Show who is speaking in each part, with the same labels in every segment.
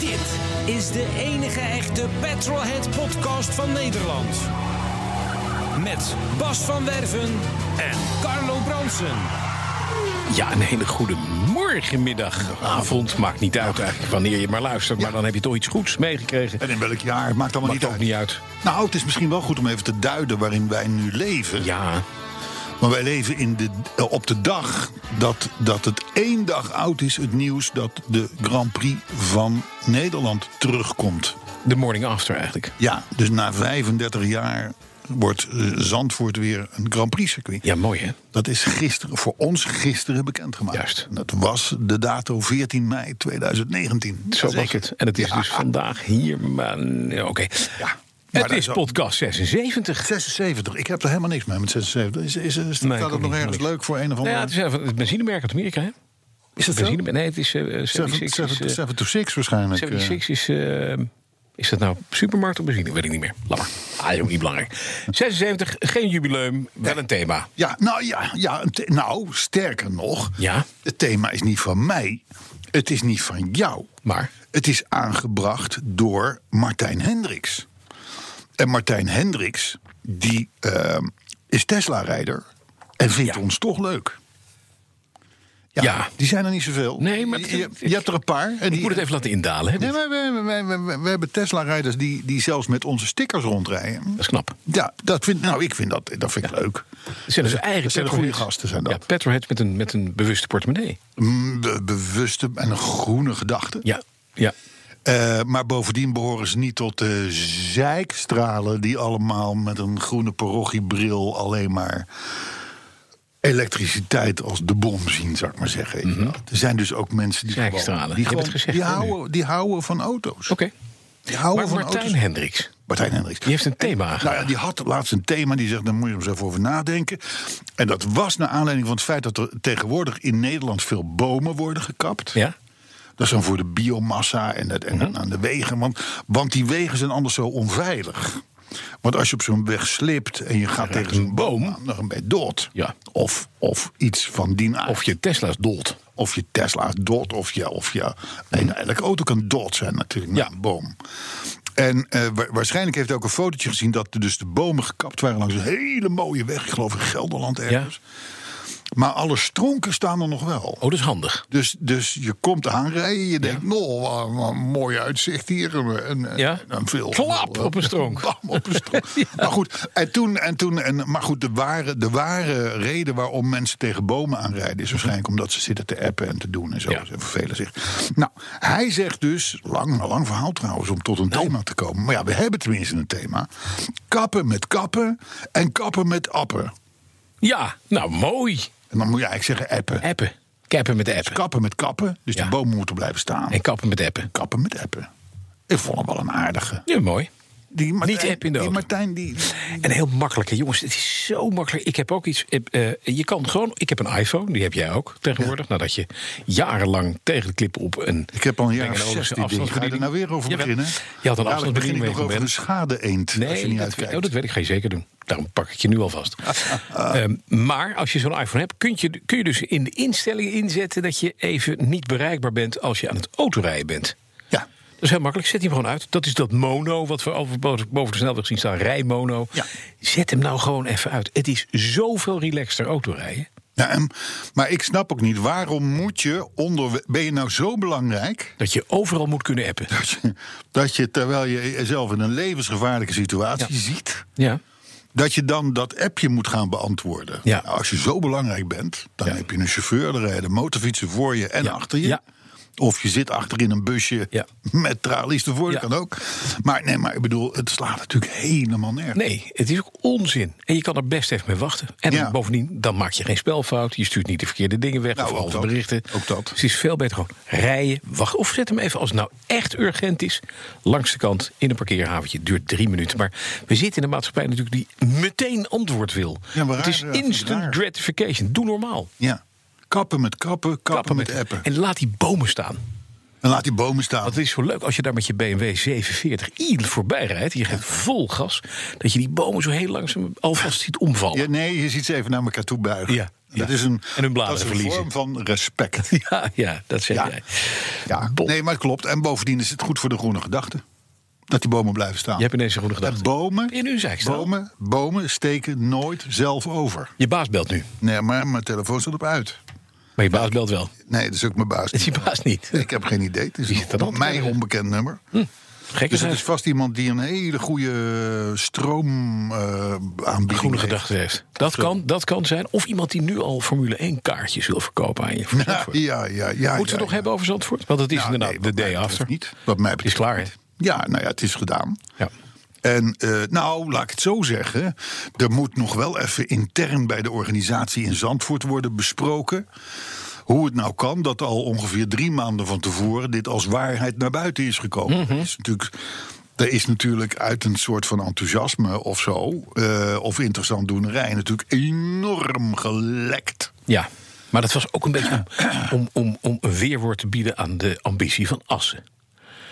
Speaker 1: Dit is de enige echte Petrolhead podcast van Nederland. Met Bas van Werven en Carlo Bronsen.
Speaker 2: Ja, een hele goede morgen, middag, avond. Maakt niet uit eigenlijk wanneer je maar luistert. Maar dan heb je toch iets goeds meegekregen.
Speaker 3: En in welk jaar? Het maakt allemaal
Speaker 2: Maakt
Speaker 3: niet
Speaker 2: ook
Speaker 3: uit.
Speaker 2: niet uit.
Speaker 3: Nou, het is misschien wel goed om even te duiden waarin wij nu leven.
Speaker 2: Ja,
Speaker 3: Maar wij leven in de, eh, op de dag dat, dat het één dag oud is, het nieuws dat de Grand Prix van Nederland terugkomt.
Speaker 2: de morning after eigenlijk.
Speaker 3: Ja, dus na 35 jaar wordt eh, Zandvoort weer een Grand Prix circuit.
Speaker 2: Ja, mooi hè?
Speaker 3: Dat is gisteren, voor ons gisteren bekendgemaakt.
Speaker 2: Juist.
Speaker 3: Dat was de dato 14 mei 2019. Dat
Speaker 2: Zo
Speaker 3: was
Speaker 2: was het. En het is
Speaker 3: Ja.
Speaker 2: dus vandaag hier, maar... ja, Oké.
Speaker 3: Ja.
Speaker 2: Het
Speaker 3: Maar
Speaker 2: is
Speaker 3: dat-
Speaker 2: podcast 76.
Speaker 3: 76. Ik heb er helemaal niks mee met 76. Is, is, is,
Speaker 2: Nee, ik
Speaker 3: staat
Speaker 2: ook
Speaker 3: het nog
Speaker 2: niet,
Speaker 3: ergens
Speaker 2: maar ik-
Speaker 3: leuk voor een
Speaker 2: Nou
Speaker 3: of andere?
Speaker 2: ja, het is even het benzinemerk uit Amerika hè?
Speaker 3: is dat zo?
Speaker 2: Benzine, nee, het is... eh, 76 is, eh,
Speaker 3: 7 to 6 waarschijnlijk.
Speaker 2: 76 is. eh, is dat nou supermarkt of benzine? Weet ik niet meer. Laat maar. Ah, is ook niet belangrijk. 76, geen jubileum, wel een thema.
Speaker 3: Ja, nou ja, ja een the- nou, sterker nog.
Speaker 2: Ja.
Speaker 3: Het thema is niet van mij. Het is niet van jou.
Speaker 2: Maar?
Speaker 3: Het is aangebracht door Martijn Hendricks. En Martijn Hendricks, die eh, is Tesla-rijder en vindt
Speaker 2: Ja.
Speaker 3: ons toch leuk.
Speaker 2: Ja.
Speaker 3: Die zijn er niet zoveel.
Speaker 2: Nee, maar
Speaker 3: je,
Speaker 2: het-
Speaker 3: je- je hebt er een paar. En
Speaker 2: Ik
Speaker 3: die,
Speaker 2: moet het even laten indalen. Hè?
Speaker 3: Nee,
Speaker 2: dit.
Speaker 3: maar we, we, we- we- we hebben Tesla-rijders die, die zelfs met onze stickers rondrijden.
Speaker 2: Dat is knap.
Speaker 3: Ja, dat vind, nou, ik vind dat, dat vind ik leuk.
Speaker 2: Het zijn dus eigen
Speaker 3: dat zijn
Speaker 2: petrolheads.
Speaker 3: goede gasten, zijn
Speaker 2: Ja,
Speaker 3: dat.
Speaker 2: petrolheads met een, met een bewuste portemonnee.
Speaker 3: Mm, be- bewuste en een groene gedachte.
Speaker 2: Ja, ja.
Speaker 3: Eh, maar bovendien behoren ze niet tot de zijkstralen... die allemaal met een groene parochiebril alleen maar... elektriciteit als de bom zien, zou ik maar zeggen. weet je wel. Er zijn dus ook mensen die
Speaker 2: Zijkstralen.
Speaker 3: gewoon...
Speaker 2: Mhm. Je
Speaker 3: Die,
Speaker 2: hebt het gezegd,
Speaker 3: die,
Speaker 2: hè, nu.
Speaker 3: houden, die houden van auto's.
Speaker 2: Oké.
Speaker 3: Die houden
Speaker 2: Maar
Speaker 3: van
Speaker 2: Martijn
Speaker 3: auto's.
Speaker 2: Hendricks,
Speaker 3: Martijn Hendricks.
Speaker 2: die heeft een thema
Speaker 3: Nou ja,
Speaker 2: aangeraakt.
Speaker 3: die had laatst een thema, die zegt, daar moet je hem eens even over nadenken. En dat was naar aanleiding van het feit dat er tegenwoordig in Nederland veel bomen worden gekapt.
Speaker 2: Ja? Mhm.
Speaker 3: Dat is dan voor de biomassa en, het, en aan de wegen. Want, want die wegen zijn anders zo onveilig. Want als je op zo'n weg slipt en je gaat tegen zo'n boom, aan, dan ben je dood.
Speaker 2: Ja.
Speaker 3: Of, of iets van die aard.
Speaker 2: Of je Tesla's dood.
Speaker 3: Of je Tesla is dood, of je. Of je nee, nou, elke auto kan dood zijn, natuurlijk. Ja,
Speaker 2: Ja.
Speaker 3: een boom. En eh, wa- waarschijnlijk heeft hij ook een fotootje gezien dat er dus de bomen gekapt waren langs een hele mooie weg. Ik geloof in Gelderland ergens. Maar alle stronken staan er nog wel.
Speaker 2: Oh, dat is handig.
Speaker 3: Dus, dus je komt aanrijden, je denkt, nou, wat een- wat een mooi uitzicht hier. En, en,
Speaker 2: Ja.
Speaker 3: en veel,
Speaker 2: Klap op een stronk.
Speaker 3: Bam, op een stronk. Maar goed, en toen, en toen, en, maar goed de, ware, de ware reden waarom mensen tegen bomen aanrijden... is waarschijnlijk omdat ze zitten te appen en te doen en zo.
Speaker 2: Ja.
Speaker 3: Ze vervelen zich. Nou, hij zegt dus, lang, een lang verhaal trouwens, om tot een thema te komen. Maar ja, we hebben tenminste een thema. Kappen met kappen en kappen met appen.
Speaker 2: Ja, nou mooi.
Speaker 3: En dan moet je eigenlijk zeggen appen.
Speaker 2: Appen. Kappen met appen.
Speaker 3: Kappen met kappen, dus
Speaker 2: Ja.
Speaker 3: de bomen moeten blijven staan.
Speaker 2: En kappen met appen.
Speaker 3: kappen met appen. Ik vond hem wel een aardige.
Speaker 2: Ja, mooi.
Speaker 3: Die Martijn,
Speaker 2: Niet app in de
Speaker 3: die
Speaker 2: auto.
Speaker 3: Martijn, die...
Speaker 2: En heel makkelijk, hè, jongens. Het is zo makkelijk. Ik heb ook iets. eh, eh, je kan gewoon. Ik heb een iPhone, die heb jij ook tegenwoordig. Nadat je jarenlang tegen de klip op een.
Speaker 3: Ik heb al een jaar
Speaker 2: Tegen
Speaker 3: of
Speaker 2: de
Speaker 3: zes
Speaker 2: Olympische
Speaker 3: die ding. Ga je
Speaker 2: afstandsbediening.
Speaker 3: er nou weer over
Speaker 2: Jawel.
Speaker 3: beginnen?
Speaker 2: Je had een
Speaker 3: Dadelijk begin ik
Speaker 2: afstandsbediening
Speaker 3: nog over
Speaker 2: meegenomen.
Speaker 3: een schade-eend. als je niet
Speaker 2: dat weet,
Speaker 3: uitkijkt.
Speaker 2: oh, dat weet ik. Ga je zeker doen. Daarom pak ik je nu alvast. Ehm, maar als je zo'n iPhone hebt, kun je, kun je dus in de instellingen inzetten dat je even niet bereikbaar bent als je aan het autorijden bent.
Speaker 3: Ja.
Speaker 2: Dat is heel makkelijk. Zet hem gewoon uit. Dat is dat mono wat we over- boven de snelweg zien staan. Rijmono.
Speaker 3: Ja.
Speaker 2: Zet hem nou gewoon even uit. Het is zoveel relaxter autorijden.
Speaker 3: Ja, en- maar ik snap ook niet, waarom moet je onder... Ben je nou zo belangrijk
Speaker 2: Dat je overal moet kunnen appen.
Speaker 3: dat je, dat je terwijl je jezelf in een levensgevaarlijke situatie ziet...
Speaker 2: Ja.
Speaker 3: dat je dan dat appje moet gaan beantwoorden.
Speaker 2: Ja.
Speaker 3: Nou, als je zo belangrijk bent, dan
Speaker 2: Ja.
Speaker 3: heb je een chauffeur, er rijden motorfietsen voor je en
Speaker 2: Ja.
Speaker 3: achter je.
Speaker 2: Ja.
Speaker 3: Of je zit achterin een busje
Speaker 2: Ja.
Speaker 3: met tralies ervoor,
Speaker 2: Ja.
Speaker 3: dat kan ook. Maar nee, maar ik bedoel, het slaat natuurlijk helemaal nergens.
Speaker 2: Nee, het is ook onzin. En je kan er best even mee wachten. En
Speaker 3: Ja.
Speaker 2: bovendien, dan maak je geen spelfout. Je stuurt niet de verkeerde dingen weg.
Speaker 3: Nou,
Speaker 2: of
Speaker 3: ook
Speaker 2: valse
Speaker 3: dat.
Speaker 2: berichten. Dus
Speaker 3: Ook dat.
Speaker 2: Het is veel beter gewoon rijden, wachten. Of zet hem even, als het nou echt urgent is... langs de kant in een parkeerhaventje. Het duurt drie minuten. Maar we zitten in een maatschappij natuurlijk die meteen antwoord wil.
Speaker 3: Ja, maar
Speaker 2: het
Speaker 3: raar,
Speaker 2: is
Speaker 3: ja, dat is
Speaker 2: instant
Speaker 3: raar.
Speaker 2: gratification. Doe normaal.
Speaker 3: Ja. Kappen met kappen, kappen, met, appen. En,
Speaker 2: En laat die bomen staan.
Speaker 3: laat die bomen staan.
Speaker 2: Want het is zo leuk als je daar met je BMW 47 iel voorbij rijdt. Je geeft vol gas. Dat je die bomen zo heel langzaam alvast ziet omvallen.
Speaker 3: Ja, nee, je ziet ze even naar elkaar toe buigen.
Speaker 2: Ja,
Speaker 3: Dat
Speaker 2: ja.
Speaker 3: is een,
Speaker 2: En hun bladeren
Speaker 3: dat is een
Speaker 2: verliezen.
Speaker 3: vorm van respect.
Speaker 2: Ja, Ah, ja, dat zeg
Speaker 3: Ja.
Speaker 2: jij.
Speaker 3: Ja,
Speaker 2: Bon.
Speaker 3: nee, maar het klopt. En bovendien is het goed voor de groene gedachte. Dat die bomen blijven staan.
Speaker 2: Je hebt ineens een goede
Speaker 3: En
Speaker 2: gedachte.
Speaker 3: bomen,
Speaker 2: In hun zijkstraal.
Speaker 3: bomen, bomen steken nooit zelf over.
Speaker 2: Je baas belt nu.
Speaker 3: Nee, maar mijn telefoon staat op uit.
Speaker 2: Maar je baas belt wel.
Speaker 3: Nee, dat is ook mijn baas.
Speaker 2: Het is je baas niet.
Speaker 3: Ik heb geen idee. Het is
Speaker 2: zit er
Speaker 3: een,
Speaker 2: dan Hm. te
Speaker 3: mijn
Speaker 2: kijken?
Speaker 3: onbekend nummer.
Speaker 2: Gek
Speaker 3: Dus
Speaker 2: is
Speaker 3: het is vast iemand die een hele goede eh, stroom eh aanbieding
Speaker 2: groene
Speaker 3: heeft.
Speaker 2: gedachten heeft. Dat kan, dat kan zijn. Of iemand die nu al Formule 1 kaartjes wil verkopen aan je. voor
Speaker 3: Ja,
Speaker 2: Zandvoort.
Speaker 3: ja, ja. ja
Speaker 2: Moeten we het nog hebben over Zandvoort? Want het is inderdaad de day after.
Speaker 3: Niet, wat mij
Speaker 2: Het is
Speaker 3: betreft.
Speaker 2: klaar, hè?
Speaker 3: Ja, nou ja, het is gedaan.
Speaker 2: Ja.
Speaker 3: En eh, nou, laat ik het zo zeggen. Er moet nog wel even intern bij de organisatie in Zandvoort worden besproken. Hoe het nou kan dat al ongeveer drie maanden van tevoren dit als waarheid naar buiten is gekomen.
Speaker 2: Mhm.
Speaker 3: Er is natuurlijk. Er is natuurlijk uit een soort van enthousiasme of zo, eh, of interessant doenerij, natuurlijk enorm gelekt.
Speaker 2: ja. Maar dat was ook een beetje om, om, om, om een weerwoord te bieden aan de ambitie van Assen.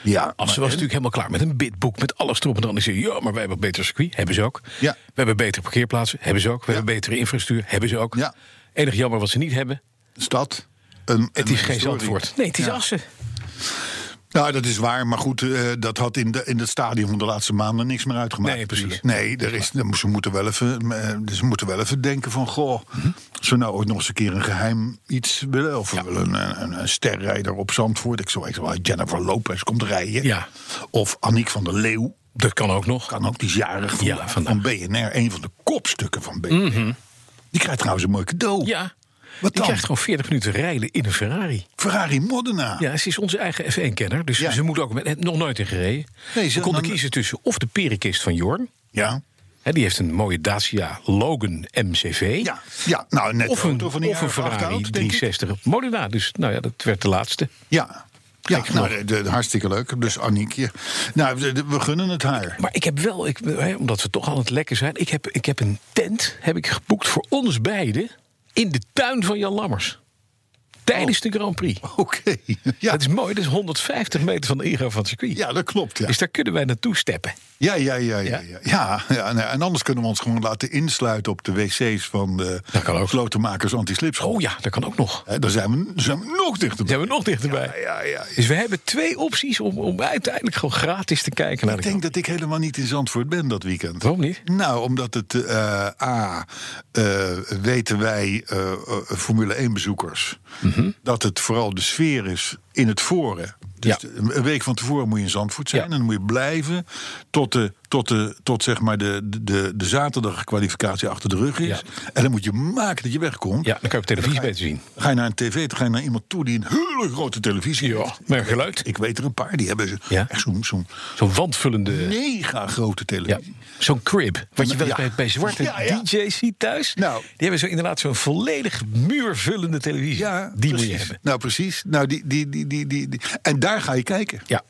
Speaker 3: Ja,
Speaker 2: Assen was natuurlijk helemaal klaar met een bitboek, met alles erop en dan. En ze, ja, maar wij hebben een beter circuit. Hebben ze ook.
Speaker 3: Ja.
Speaker 2: We hebben betere parkeerplaatsen. Hebben ze ook. We hebben betere infrastructuur. Hebben ze ook.
Speaker 3: Ja.
Speaker 2: Enig jammer wat ze niet hebben.
Speaker 3: stad. Een,
Speaker 2: Het is geen Zandvoort. Nee, het is
Speaker 3: Ja.
Speaker 2: Assen.
Speaker 3: Nou, dat is waar. Maar goed, eh, dat had in, de, in het stadion van de laatste maanden niks meer uitgemaakt.
Speaker 2: Nee, precies.
Speaker 3: natuurlijk. Nee, er is, er- ze, moeten wel even, eh, ze moeten wel even denken van... goh, als we nou ooit nog eens een keer een geheim iets willen... of we willen een, een, een sterrijder op Zandvoort. Ik zou echt wel Jennifer Lopez komt rijden.
Speaker 2: Ja.
Speaker 3: Of Aniek van der Leeuw.
Speaker 2: Dat kan ook nog.
Speaker 3: Kan ook, die is jarig van,
Speaker 2: Ja, vandaag. Mhm.
Speaker 3: van BNR. Een van de kopstukken van BNR. Die krijgt trouwens een mooi cadeau.
Speaker 2: Ja.
Speaker 3: Wat
Speaker 2: Die
Speaker 3: dan?
Speaker 2: krijgt gewoon 40 minuten rijden in een Ferrari.
Speaker 3: Ferrari Modena.
Speaker 2: Ja, ze is onze eigen F1-kenner. Dus
Speaker 3: Ah. Ja.
Speaker 2: ze moet ook... met- heeft Nog nooit in gereden.
Speaker 3: Nee, ze-
Speaker 2: ze konden
Speaker 3: dan-
Speaker 2: kiezen tussen of de perenkist van Jorn.
Speaker 3: ja.
Speaker 2: Hè, die heeft een mooie Dacia Logan MCV.
Speaker 3: Ja, ja, nou net
Speaker 2: Of
Speaker 3: de
Speaker 2: een,
Speaker 3: auto van die
Speaker 2: of een
Speaker 3: jaren
Speaker 2: Ferrari
Speaker 3: 8 oud, denk ik.
Speaker 2: 360 Modena. Dus nou ja, dat werd de laatste.
Speaker 3: Ja. Ja, nou, de- de- hartstikke leuk. Dus Aniekje. Nou, de- de- we gunnen het haar.
Speaker 2: Maar ik heb wel, ik, hè, omdat we toch aan het lekker zijn... Ik heb, ik heb een tent heb ik geboekt voor ons beiden... in de tuin van Jan Lammers. Tijdens de Grand Prix.
Speaker 3: Oké. Oh. Ja.
Speaker 2: Dat is mooi, dat is 150 meter van de ingang van het circuit.
Speaker 3: ja, dat klopt. Ja.
Speaker 2: Dus daar kunnen wij naartoe steppen.
Speaker 3: Ja, ja, ja, ja,
Speaker 2: Ja?
Speaker 3: ja. ja, ja, nou, en anders kunnen we ons gewoon laten insluiten op de wc's van de
Speaker 2: Dat kan ook.
Speaker 3: slotenmakers anti-slipschool.
Speaker 2: Oh ja, dat kan ook nog.
Speaker 3: Hè, Daar zijn we, daar zijn we nog
Speaker 2: Dan zijn
Speaker 3: dichterbij.
Speaker 2: we nog dichterbij.
Speaker 3: Ja, ja, ja.
Speaker 2: Dus we hebben twee opties om, om uiteindelijk gewoon gratis te kijken naar
Speaker 3: Ik
Speaker 2: de
Speaker 3: denk dat ik helemaal niet in Zandvoort ben dat weekend.
Speaker 2: Waarom niet?
Speaker 3: Nou, omdat het eh, A, eh, weten wij eh, eh, Formule 1-bezoekers...
Speaker 2: Mhm.
Speaker 3: dat het vooral de sfeer is in het voren. Dus
Speaker 2: Ja.
Speaker 3: een week van tevoren moet je in Zandvoort zijn...
Speaker 2: Ja.
Speaker 3: en dan moet je blijven tot, de, tot, de, tot zeg maar de, de, de zaterdagkwalificatie achter de rug is.
Speaker 2: Ja.
Speaker 3: En dan moet je maken dat je wegkomt.
Speaker 2: Ja, dan kan je op televisie beter zien.
Speaker 3: Dan Ga je naar een tv, dan ga je naar iemand toe die een hele grote televisie
Speaker 2: Ja,
Speaker 3: heeft.
Speaker 2: maar geluid.
Speaker 3: Ik weet er een paar, die hebben ze.
Speaker 2: Ja.
Speaker 3: echt zo'n zo'n
Speaker 2: Zo'n wandvullende...
Speaker 3: mega grote
Speaker 2: Ja,
Speaker 3: televisie.
Speaker 2: zo'n crib. Wat je wel eens
Speaker 3: Ja.
Speaker 2: bij, bij zwarte
Speaker 3: Ja, ja.
Speaker 2: DJ's ziet thuis.
Speaker 3: Nou.
Speaker 2: Die hebben zo inderdaad zo'n volledig muurvullende televisie. die moet je
Speaker 3: precies.
Speaker 2: hebben.
Speaker 3: Nou, precies. Nou, die, die, die, die, die, die- En daar ga je kijken.
Speaker 2: Ja.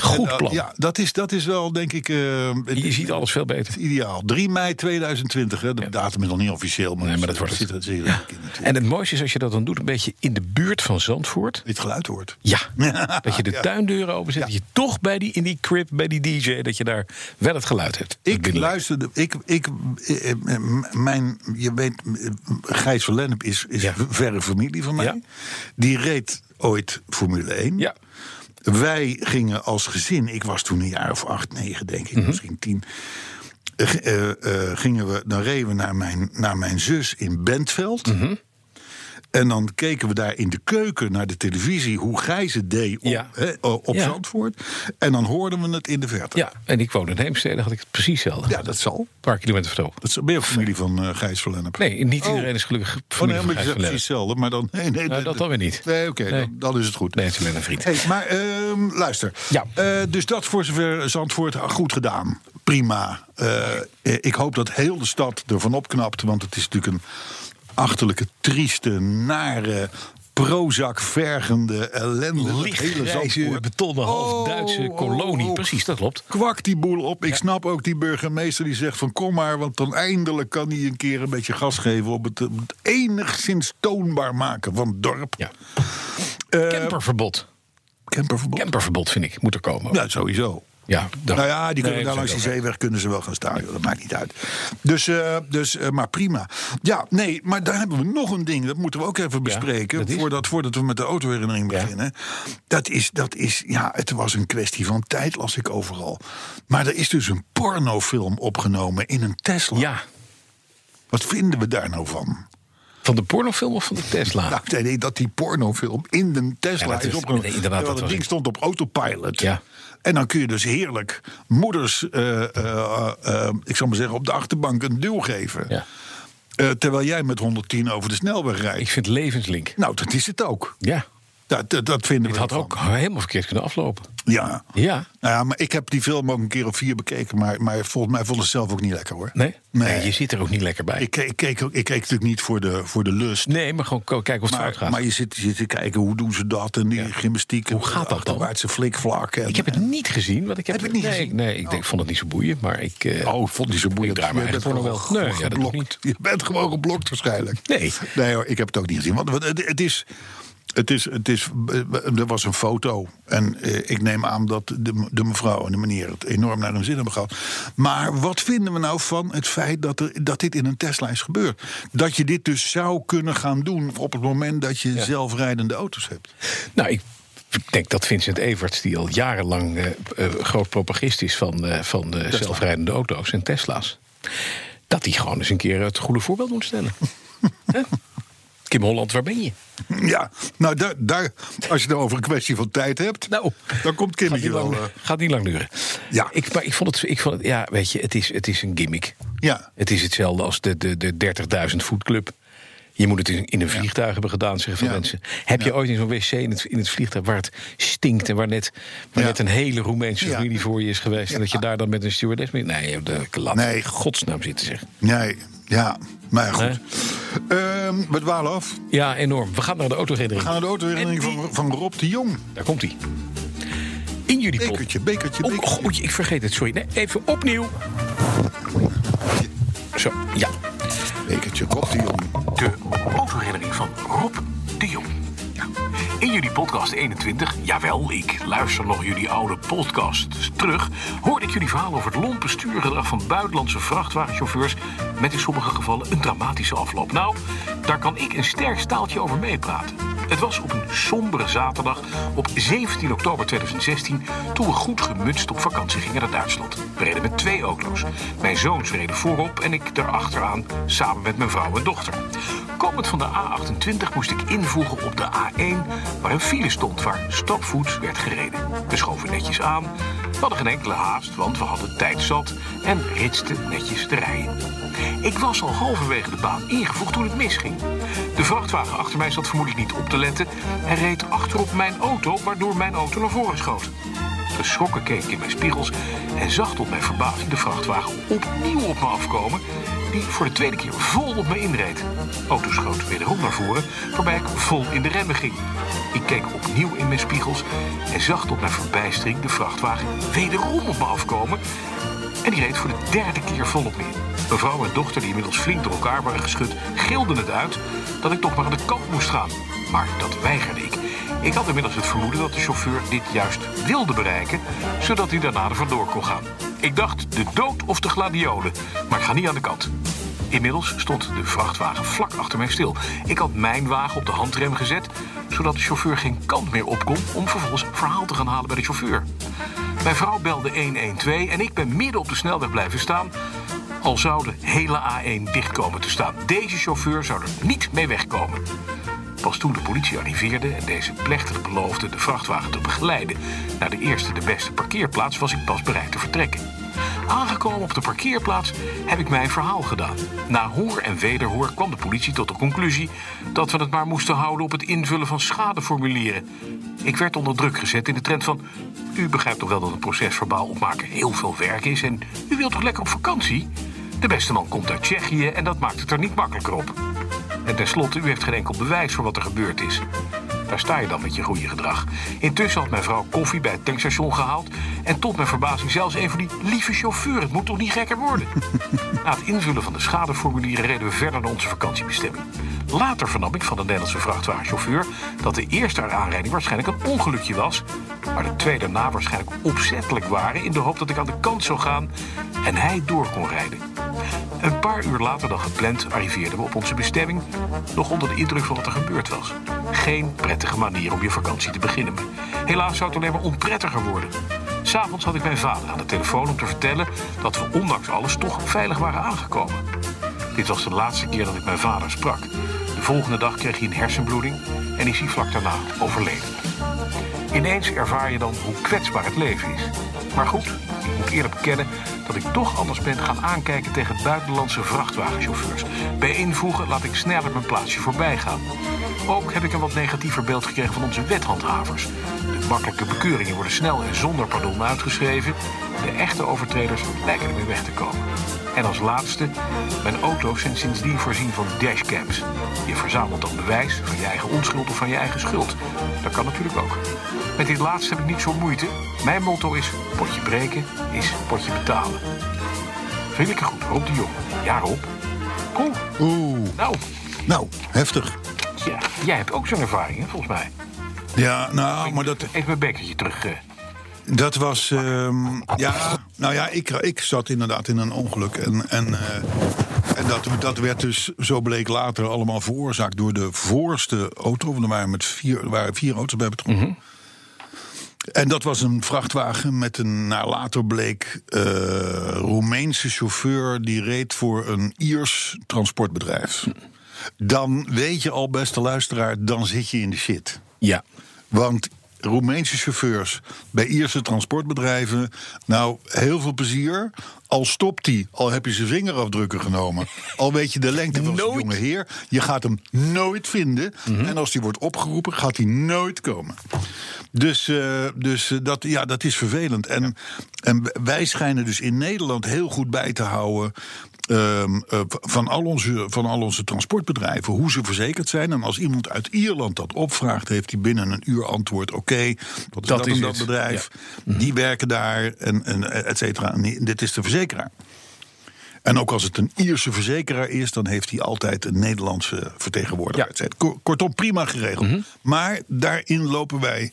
Speaker 2: Goed
Speaker 3: En,
Speaker 2: plan.
Speaker 3: uh, ja, dat is, dat is wel, denk ik, eh, het
Speaker 2: Je ziet alles veel beter.
Speaker 3: is ideaal. 3 mei 2020, hè. de datum is nog niet officieel. Maar,
Speaker 2: Nee, maar dat wordt
Speaker 3: zit
Speaker 2: het.
Speaker 3: er zeker in natuurlijk.
Speaker 2: En eh, het mooiste is als je dat dan doet, een beetje in de buurt van Zandvoort.
Speaker 3: Dit geluid hoort.
Speaker 2: Ja,
Speaker 3: Ja.
Speaker 2: dat je de
Speaker 3: Ja.
Speaker 2: tuindeuren openzet. Dat je toch bij die, in die crib, bij die DJ, dat je daar wel het geluid hebt. Dat
Speaker 3: Ik
Speaker 2: binnenleven.
Speaker 3: luisterde, ik, ik, eh, eh, m- mijn, je weet, eh, Gijs van Lennep is, is
Speaker 2: Ja.
Speaker 3: verre familie van mij.
Speaker 2: Ja.
Speaker 3: Die reed ooit Formule 1.
Speaker 2: Ja.
Speaker 3: Wij gingen als gezin, ik was toen een jaar of acht, negen denk
Speaker 2: Mhm.
Speaker 3: ik, misschien tien. eh, g-
Speaker 2: Mhm.
Speaker 3: eh, eh, gingen we, dan reden we naar mijn, naar mijn zus in Bentveld. En dan keken we daar in de keuken naar de televisie hoe Gijs het deed op,
Speaker 2: Ja.
Speaker 3: hè, op
Speaker 2: Ja.
Speaker 3: Zandvoort. En dan hoorden we het in de verte.
Speaker 2: Ja, en ik woonde in Heemstede, dan had ik het precies hetzelfde.
Speaker 3: Ja, dat zal.
Speaker 2: Een paar kilometer verderop.
Speaker 3: Dat is, ben je ook familie van eh Gijs van Lennep?
Speaker 2: Nee, niet iedereen is gelukkig
Speaker 3: Oh,
Speaker 2: familie
Speaker 3: nee,
Speaker 2: van
Speaker 3: maar het
Speaker 2: Gijs
Speaker 3: is
Speaker 2: van
Speaker 3: precies
Speaker 2: Lennep.
Speaker 3: hetzelfde. Maar dan, nee, nee,
Speaker 2: Nou, dat dan weer niet.
Speaker 3: Nee, oké, Dan, dan is het goed.
Speaker 2: Nee, het is alleen een vriend.
Speaker 3: Hey, maar ehm, luister.
Speaker 2: Ja.
Speaker 3: Eh, dus dat voor zover Zandvoort ah, goed gedaan. Prima. Eh, eh, ik hoop dat heel de stad ervan opknapt. Want het is natuurlijk een achterlijke, trieste, nare, prozak vergende ellende.
Speaker 2: Lichtgrijze,
Speaker 3: Zandvoort.
Speaker 2: betonnen, half Duitse
Speaker 3: Oh, oh,
Speaker 2: kolonie.
Speaker 3: oh.
Speaker 2: Precies, dat klopt.
Speaker 3: Kwakt die boel op. Ik snap ook die burgemeester die zegt van kom maar... want dan eindelijk kan hij een keer een beetje gas geven... op het, eh, het enigszins toonbaar maken van het dorp.
Speaker 2: Ja.
Speaker 3: Eh,
Speaker 2: Camperverbod.
Speaker 3: Camperverbod.
Speaker 2: Camperverbod, vind ik, moet er komen.
Speaker 3: Ja, sowieso.
Speaker 2: Ja, dat-
Speaker 3: Nou ja, die kunnen
Speaker 2: Nee,
Speaker 3: daar
Speaker 2: dat
Speaker 3: langs
Speaker 2: is ook
Speaker 3: die
Speaker 2: wel
Speaker 3: zeeweg kunnen ze wel gaan staan. joh, Dat maakt niet uit. Dus, eh, dus eh, maar prima. Ja, nee, maar daar hebben we nog een ding. Dat moeten we ook even bespreken.
Speaker 2: dat is-
Speaker 3: voordat, voordat we met de autoherinnering beginnen. Dat is, dat is, ja, het was een kwestie van tijd, las ik overal. Maar er is dus een pornofilm opgenomen in een Tesla.
Speaker 2: Ja,
Speaker 3: Wat vinden we daar nou van?
Speaker 2: van de pornofilm of van de Tesla?
Speaker 3: Nou, het idee dat die pornofilm in de Tesla
Speaker 2: Ja, dat
Speaker 3: is
Speaker 2: is-
Speaker 3: opgenomen.
Speaker 2: nee, inderdaad,
Speaker 3: Terwijl
Speaker 2: dat
Speaker 3: het
Speaker 2: was
Speaker 3: ding
Speaker 2: ik.
Speaker 3: stond op autopilot.
Speaker 2: Ja.
Speaker 3: En dan kun je dus heerlijk moeders, eh, eh, eh, ik zal maar zeggen, op de achterbank een duw geven.
Speaker 2: Ja.
Speaker 3: Eh, terwijl jij met 110 over de snelweg rijdt.
Speaker 2: Ik vind levenslink.
Speaker 3: Nou, dat is het ook.
Speaker 2: Ja,
Speaker 3: Dat, dat, dat vinden
Speaker 2: het
Speaker 3: we
Speaker 2: had
Speaker 3: ervan.
Speaker 2: ook helemaal verkeerd kunnen aflopen.
Speaker 3: Ja.
Speaker 2: Ja.
Speaker 3: Nou ja, maar ik heb die film ook een keer of vier bekeken. Maar, maar volgens mij vond het zelf ook niet lekker hoor.
Speaker 2: Nee?
Speaker 3: Nee.
Speaker 2: je zit er ook niet lekker bij.
Speaker 3: Ik, ik, keek, ook- ik keek natuurlijk niet voor de, voor de lust.
Speaker 2: Nee, maar gewoon ko- kijken of het fout
Speaker 3: Maar,
Speaker 2: gaat.
Speaker 3: maar je zit, je zit te kijken hoe doen ze dat en die gymnastiek. en
Speaker 2: Hoe gaat dat dan?
Speaker 3: Achterwaartse flikvlak. En,
Speaker 2: ik heb het niet gezien. Want ik heb,
Speaker 3: Heb je het niet
Speaker 2: nee,
Speaker 3: gezien?
Speaker 2: Nee, ik denk, vond het niet zo boeiend. Maar ik... eh,
Speaker 3: Oh, ik vond die zo boeiend.
Speaker 2: Ik draai
Speaker 3: Je
Speaker 2: mijn
Speaker 3: bent
Speaker 2: eigen porno
Speaker 3: gewoon
Speaker 2: wel. Nee, ja, dat
Speaker 3: geblokt.
Speaker 2: niet.
Speaker 3: Je bent gewoon geblokt waarschijnlijk.
Speaker 2: Nee.
Speaker 3: Nee hoor, ik heb het ook niet gezien. Want het, het is... Het is, het is, er was een foto. En eh, ik neem aan dat de, de mevrouw en de meneer het enorm naar hun zin hebben gehad. Maar wat vinden we nou van het feit dat, er, dat dit in een Tesla is gebeurd? Dat je dit dus zou kunnen gaan doen op het moment dat je zelfrijdende auto's hebt.
Speaker 2: Nou, ik denk dat Vincent Everts, die al jarenlang eh, eh, groot propagist is van, eh, van eh, zelfrijdende auto's en Tesla's, dat die gewoon eens een keer het goede voorbeeld moet stellen. Hè? Kim Holland, waar ben je?
Speaker 3: Ja, nou daar, daar, als je het nou over een kwestie van tijd hebt,
Speaker 2: Nou,
Speaker 3: dan komt
Speaker 2: gaat
Speaker 3: Kimmetje
Speaker 2: niet,
Speaker 3: wel.
Speaker 2: lang,
Speaker 3: eh,
Speaker 2: gaat niet lang duren.
Speaker 3: Ja.
Speaker 2: Ik, maar ik vond het, ik vond het ja, weet je, het is, het is een gimmick.
Speaker 3: ja.
Speaker 2: Het is hetzelfde als de, de, de 30.000 voet club. Je moet het in in een vliegtuig hebben gedaan, zeggen van
Speaker 3: Ja.
Speaker 2: mensen. Heb je ooit in zo'n wc in het, in het vliegtuig waar het stinkt... en waar net, waar
Speaker 3: Ja.
Speaker 2: net een hele Roemeense
Speaker 3: Ja.
Speaker 2: familie voor je is geweest... en dat je daar dan met een stewardess mee... Nee, de, laat
Speaker 3: Nee.
Speaker 2: nee. godsnaam zitten zeggen.
Speaker 3: Nee, ja, maar ja, goed. Ehm we dwalen af.
Speaker 2: Ja, enorm. We gaan naar de autoherinnering.
Speaker 3: We gaan naar de autoherinnering van, van Rob de Jong.
Speaker 2: Daar komt hij. In jullie pot.
Speaker 3: Bekertje, bekertje,
Speaker 2: Oh,
Speaker 3: bekertje.
Speaker 2: goeie, ik vergeet het, sorry. Nee, even opnieuw. Zo, ja.
Speaker 3: Bekertje, Rob de Jong.
Speaker 2: De autoherinnering van Rob de Jong. Ja. In jullie podcast 21, jawel, ik luister nog jullie oude podcasts terug, hoorde ik jullie verhaal over het lompe stuurgedrag van buitenlandse vrachtwagenchauffeurs met in sommige gevallen een dramatische afloop. Nou, daar kan ik een sterk staaltje over meepraten. Het was op een sombere zaterdag op 17 oktober 2016 toen we goed gemutst op vakantie gingen naar Duitsland. We reden met twee auto's. Mijn zoons reden voorop en ik daarachteraan samen met mijn vrouw en dochter. Komend van de A28 moest ik invoegen op de A1 waar een file stond waar stapvoets werd gereden. We schoven netjes aan, we hadden geen enkele haast want we hadden tijd zat en ritsten netjes de rij in. Ik was al halverwege de baan ingevoegd toen het misging. De vrachtwagen achter mij zat vermoedelijk niet op te letten en reed achterop mijn auto, waardoor mijn auto naar voren schoot. Geschrokken keek ik in mijn spiegels en zag tot mijn verbazing de vrachtwagen opnieuw op me afkomen, die voor de tweede keer vol op me inreed. De Auto schoot wederom naar voren, waarbij ik vol in de remmen ging. Ik keek opnieuw in mijn spiegels en zag tot mijn verbijstering de vrachtwagen wederom op me afkomen en die reed voor de derde keer volop in. Mevrouw en dochter, die inmiddels flink door elkaar waren geschud, gilden het uit dat ik toch maar aan de kant moest gaan. Maar dat weigerde ik. Ik had inmiddels het vermoeden dat de chauffeur dit juist wilde bereiken, zodat hij daarna er vandoor kon gaan. Ik dacht de dood of de gladiolen, maar ik ga niet aan de kant. Inmiddels stond de vrachtwagen vlak achter mij stil. Ik had mijn wagen op de handrem gezet, zodat de chauffeur geen kant meer op kon om vervolgens verhaal te gaan halen bij de chauffeur. Mijn vrouw belde 112 en ik ben midden op de snelweg blijven staan. Al zou de hele A1 dicht komen te staan. Deze chauffeur zou er niet mee wegkomen. Pas toen de politie arriveerde en deze plechtig beloofde de vrachtwagen te begeleiden naar de eerste de beste parkeerplaats, was ik pas bereid te vertrekken. Aangekomen op de parkeerplaats heb ik mijn verhaal gedaan. Na hoor en wederhoor kwam de politie tot de conclusie dat we het maar moesten houden op het invullen van schadeformulieren. Ik werd onder druk gezet in de trend van: U begrijpt toch wel dat een procesverbaal opmaken heel veel werk is en u wilt toch lekker op vakantie? De beste man komt uit Tsjechië en dat maakt het er niet makkelijker op. En tenslotte, u heeft geen enkel bewijs voor wat er gebeurd is. Daar sta je dan met je goede gedrag. Intussen had mijn vrouw koffie bij het tankstation gehaald. En tot mijn verbazing zelfs een van die lieve chauffeur. Het moet toch niet gekker worden? Na het invullen van de schadeformulieren reden we verder naar onze vakantiebestemming. Later vernam ik van de Nederlandse vrachtwagenchauffeur dat de eerste aanrijding waarschijnlijk een ongelukje was. Maar de twee daarna waarschijnlijk opzettelijk waren in de hoop dat ik aan de kant zou gaan en hij door kon rijden. Een paar uur later dan gepland arriveerden we op onze bestemming, nog onder de indruk van wat er gebeurd was. Geen prettige manier om je vakantie te beginnen. Helaas zou het alleen maar onprettiger worden. S'avonds had ik mijn vader aan de telefoon om te vertellen dat we ondanks alles toch veilig waren aangekomen. Dit was de laatste keer dat ik mijn vader sprak. De volgende dag kreeg hij een hersenbloeding en is hij vlak daarna overleden. Ineens ervaar je dan hoe kwetsbaar het leven is. Maar goed, ik moet eerlijk bekennen dat ik toch anders ben gaan aankijken tegen buitenlandse vrachtwagenchauffeurs. Bij invoegen laat ik sneller mijn plaatsje voorbij gaan. Ook heb ik een wat negatiever beeld gekregen van onze wethandhavers. De makkelijke bekeuringen worden snel en zonder pardon uitgeschreven. De echte overtreders lijken ermee weg te komen. En als laatste, mijn auto's zijn sindsdien voorzien van dashcams. Je verzamelt dan bewijs van je eigen onschuld of van je eigen schuld. Dat kan natuurlijk ook. Met dit laatste heb ik niet zo moeite. Mijn motto is: potje breken is potje betalen. Vriendelijke groet, Rob de Jong. Ja, Rob. Cool.
Speaker 3: Oeh.
Speaker 2: Nou,
Speaker 3: Nou, heftig.
Speaker 2: ja, jij hebt ook zo'n ervaring, hè, volgens mij.
Speaker 3: Ja, nou, maar dat,
Speaker 2: Even mijn bekertje terug. eh.
Speaker 3: Dat was. ehm, ja, nou ja, ik, ik zat inderdaad in een ongeluk. En, en, eh, en dat, dat werd dus, zo bleek later, allemaal veroorzaakt door de voorste auto. Want er waren, met vier, er waren vier auto's bij betrokken. En dat was een vrachtwagen met een, naar later bleek, eh, Roemeense chauffeur. Die reed voor een Iers transportbedrijf. Dan weet je al, beste luisteraar, dan zit je in de shit.
Speaker 4: Ja.
Speaker 3: Want Roemeense chauffeurs bij Ierse transportbedrijven. Nou, heel veel plezier. Al stopt hij, al heb je zijn vingerafdrukken genomen. Al weet je de lengte van zijn
Speaker 4: Nooit.
Speaker 3: jonge heer. Je gaat hem nooit vinden. En als hij wordt opgeroepen, gaat hij nooit komen. Dus, eh, dus eh, dat, ja, dat is vervelend. En, en wij schijnen dus in Nederland heel goed bij te houden. ehm, eh, van, al onze, van al onze transportbedrijven, hoe ze verzekerd zijn. En als iemand uit Ierland dat opvraagt, heeft hij binnen een uur antwoord: oké, dat is dat,
Speaker 4: Dat is
Speaker 3: en dat
Speaker 4: het. Mhm.
Speaker 3: bedrijf. Die werken daar, en, en et cetera. En die- dit is de verzekeraar. En ook als het een Ierse verzekeraar is, dan heeft hij altijd een Nederlandse vertegenwoordiger.
Speaker 4: Ja. Mhm.
Speaker 3: et cetera. Ko- Kortom, prima geregeld. Maar daarin lopen wij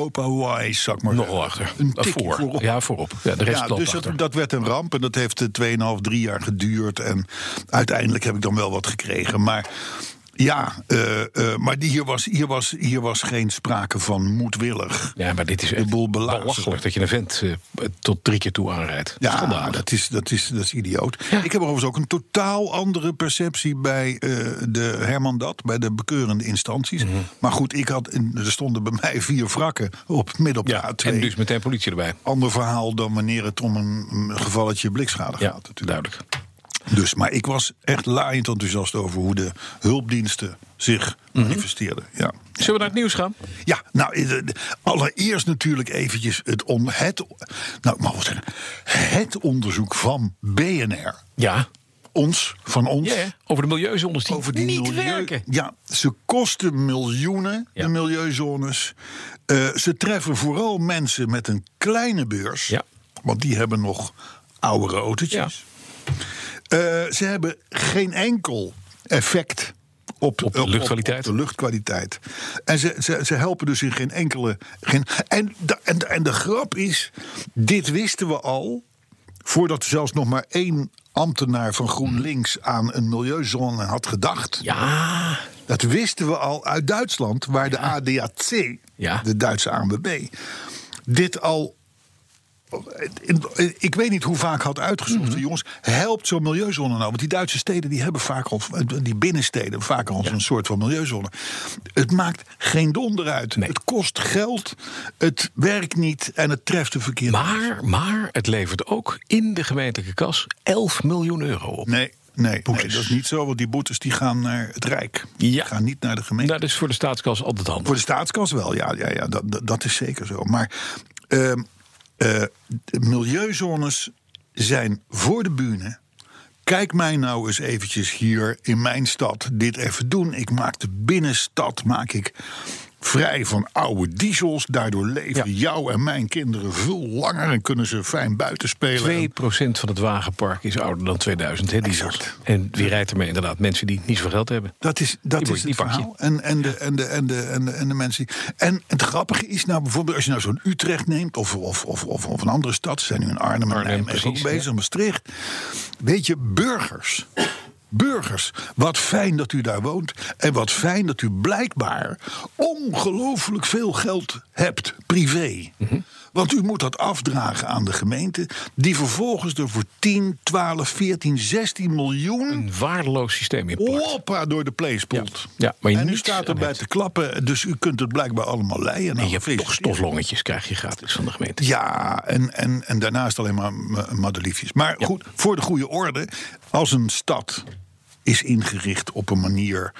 Speaker 3: Europa-wise, zak maar
Speaker 4: Nogal
Speaker 3: zeggen.
Speaker 4: achter.
Speaker 3: Een
Speaker 4: Eh,
Speaker 3: tikkie
Speaker 4: voor.
Speaker 3: voorop.
Speaker 4: Ja, voorop. Ja, de rest loopt
Speaker 3: dus
Speaker 4: achter.
Speaker 3: dat, dat werd een ramp en dat heeft eh, 2,5, 3 jaar geduurd. En uiteindelijk heb ik dan wel wat gekregen. Maar ja, eh, eh, maar die, hier, was, hier, was, hier was geen sprake van moedwillig.
Speaker 4: Ja, maar dit is
Speaker 3: De
Speaker 4: echt
Speaker 3: boel belazeren.
Speaker 4: belachelijk dat je een vent eh, tot drie keer toe aanrijdt.
Speaker 3: Ja,
Speaker 4: Schandalig.
Speaker 3: dat is, dat, is, dat is idioot. Ik heb overigens ook een totaal andere perceptie bij eh, de Herman Dat, bij de bekeurende instanties.
Speaker 4: Mhm.
Speaker 3: Maar goed, ik had, in- er stonden bij mij vier wrakken op midden op de
Speaker 4: Ja,
Speaker 3: A2.
Speaker 4: en dus meteen politie erbij.
Speaker 3: Ander verhaal dan wanneer het om een, een gevalletje blikschade
Speaker 4: Ja,
Speaker 3: gaat. Natuurlijk.
Speaker 4: duidelijk.
Speaker 3: Dus, maar ik was echt laaiend enthousiast over hoe de hulpdiensten zich
Speaker 4: Mhm.
Speaker 3: manifesteerden. Ja.
Speaker 4: Zullen we naar het nieuws gaan?
Speaker 3: Ja, nou, eh, de- de- allereerst natuurlijk eventjes het, on, het, nou, ik mag wel zeggen, het onderzoek van BNR.
Speaker 4: Ja.
Speaker 3: Ons, van ons.
Speaker 4: Ja, ja. over de milieuzondes die, niet werken.
Speaker 3: Ja, ze kosten miljoenen,
Speaker 4: Ja.
Speaker 3: de milieuzones. Eh, ze treffen vooral mensen met een kleine beurs.
Speaker 4: Ja.
Speaker 3: Want die hebben nog oudere autootjes. Eh, ze hebben geen enkel effect op,
Speaker 4: Op de
Speaker 3: eh,
Speaker 4: luchtkwaliteit.
Speaker 3: op de luchtkwaliteit. En ze, ze, ze helpen dus in geen enkele... Geen, en, de, en, de- en de grap is, dit wisten we al... voordat zelfs nog maar één ambtenaar van GroenLinks... aan een milieuzone had gedacht.
Speaker 4: Ja.
Speaker 3: Dat wisten we al uit Duitsland, waar de ADAC,
Speaker 4: Ja.
Speaker 3: de Duitse ANWB, dit al ik weet niet hoe vaak had uitgezocht.
Speaker 4: Mhm.
Speaker 3: Jongens, helpt zo'n milieuzone nou? Want die Duitse steden die hebben vaak al, die binnensteden vaak al een soort van milieuzone. Het maakt geen donder uit. Het kost geld, het werkt niet en het treft de verkeerde.
Speaker 4: Maar, maar het levert ook in de gemeentelijke kas 11 miljoen euro op.
Speaker 3: Nee, nee, nee, dat is niet zo. Want die boetes die gaan naar het Rijk. Die
Speaker 4: Ja.
Speaker 3: gaan niet naar de gemeente.
Speaker 4: Nou, dat is voor de staatskas altijd handig.
Speaker 3: Voor de staatskas wel, ja, ja, ja dat, dat, dat is zeker zo. Maar ehm, eh, de milieuzones zijn voor de bühne. Kijk mij nou eens eventjes hier in mijn stad dit even doen. Ik maak de binnenstad maak ik vrij van oude diesels. Daardoor leven
Speaker 4: Ja.
Speaker 3: jou en mijn kinderen veel langer en kunnen ze fijn buiten spelen.
Speaker 4: 2% van het wagenpark is ouder dan 2000, hè, diesels.
Speaker 3: Exact.
Speaker 4: En wie rijdt ermee inderdaad? Mensen die niet zoveel geld hebben.
Speaker 3: Dat is, dat
Speaker 4: Die
Speaker 3: is
Speaker 4: moet-
Speaker 3: het
Speaker 4: die pak je.
Speaker 3: verhaal. En, en, de, en, de, en, de, en, de, en de mensen. die- En het grappige is nou bijvoorbeeld, als je nou zo'n Utrecht neemt, of, of, of, of, of een andere stad, ze zijn nu in Arnhem en
Speaker 4: Arnhem,
Speaker 3: Nijmegen
Speaker 4: precies,
Speaker 3: ook bezig,
Speaker 4: ja.
Speaker 3: Maastricht. Weet je, burgers. Burgers, wat fijn dat u daar woont. En wat fijn dat u blijkbaar ongelooflijk veel geld hebt, privé.
Speaker 4: Mhm.
Speaker 3: Want u moet dat afdragen aan de gemeente, die vervolgens er voor 10, 12, 14, 16 miljoen
Speaker 4: Een waardeloos systeem in
Speaker 3: Oh,
Speaker 4: plakt.
Speaker 3: Hoppa, door de playspoelt.
Speaker 4: Ja. Ja, maar je
Speaker 3: en u
Speaker 4: niets
Speaker 3: staat
Speaker 4: aan
Speaker 3: erbij
Speaker 4: hebt.
Speaker 3: te klappen, dus u kunt het blijkbaar allemaal leien.
Speaker 4: En
Speaker 3: Nou,
Speaker 4: je hebt
Speaker 3: feest.
Speaker 4: toch stoflongetjes, krijg je gratis van de gemeente.
Speaker 3: Ja, en, en, en daarnaast alleen maar m- madeliefjes. Maar goed, voor de goede orde, als een stad is ingericht op een manier...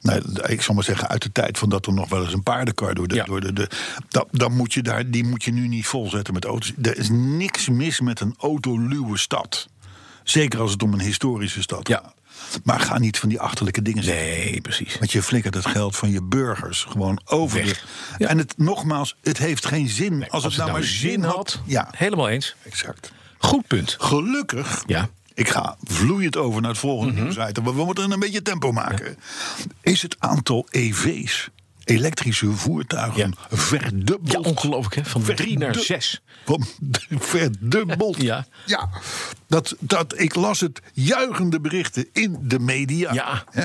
Speaker 3: Nou, ik zal maar zeggen, uit de tijd van dat er nog wel eens een paardenkar... door de,
Speaker 4: Ja.
Speaker 3: door de, de dan, dan moet je daar, die moet je nu niet volzetten met auto's. Er is niks mis met een autoluwe stad. Zeker als het om een historische stad
Speaker 4: Ja.
Speaker 3: gaat. Maar ga niet van die achterlijke dingen zeggen.
Speaker 4: Nee, precies.
Speaker 3: Want je flikkert het geld van je burgers gewoon over.
Speaker 4: Weg.
Speaker 3: de-
Speaker 4: Ja.
Speaker 3: En het, nogmaals, het heeft geen zin. als, het nou maar zin had. Ja,
Speaker 4: Helemaal eens.
Speaker 3: exact.
Speaker 4: Goed punt.
Speaker 3: Gelukkig.
Speaker 4: Ja. Mhm.
Speaker 3: Ik ga vloeiend over naar het volgende nieuwsitem. Maar we moeten een beetje tempo maken. Is het aantal EV's, elektrische voertuigen,
Speaker 4: Ja,
Speaker 3: verdubbeld?
Speaker 4: ongelooflijk hè. Van drie naar
Speaker 3: Verdu-
Speaker 4: zes.
Speaker 3: Van verdubbeld.
Speaker 4: Ja.
Speaker 3: ja. Dat, dat, ik las het juichende berichten in de media.
Speaker 4: Ja.
Speaker 3: Hè?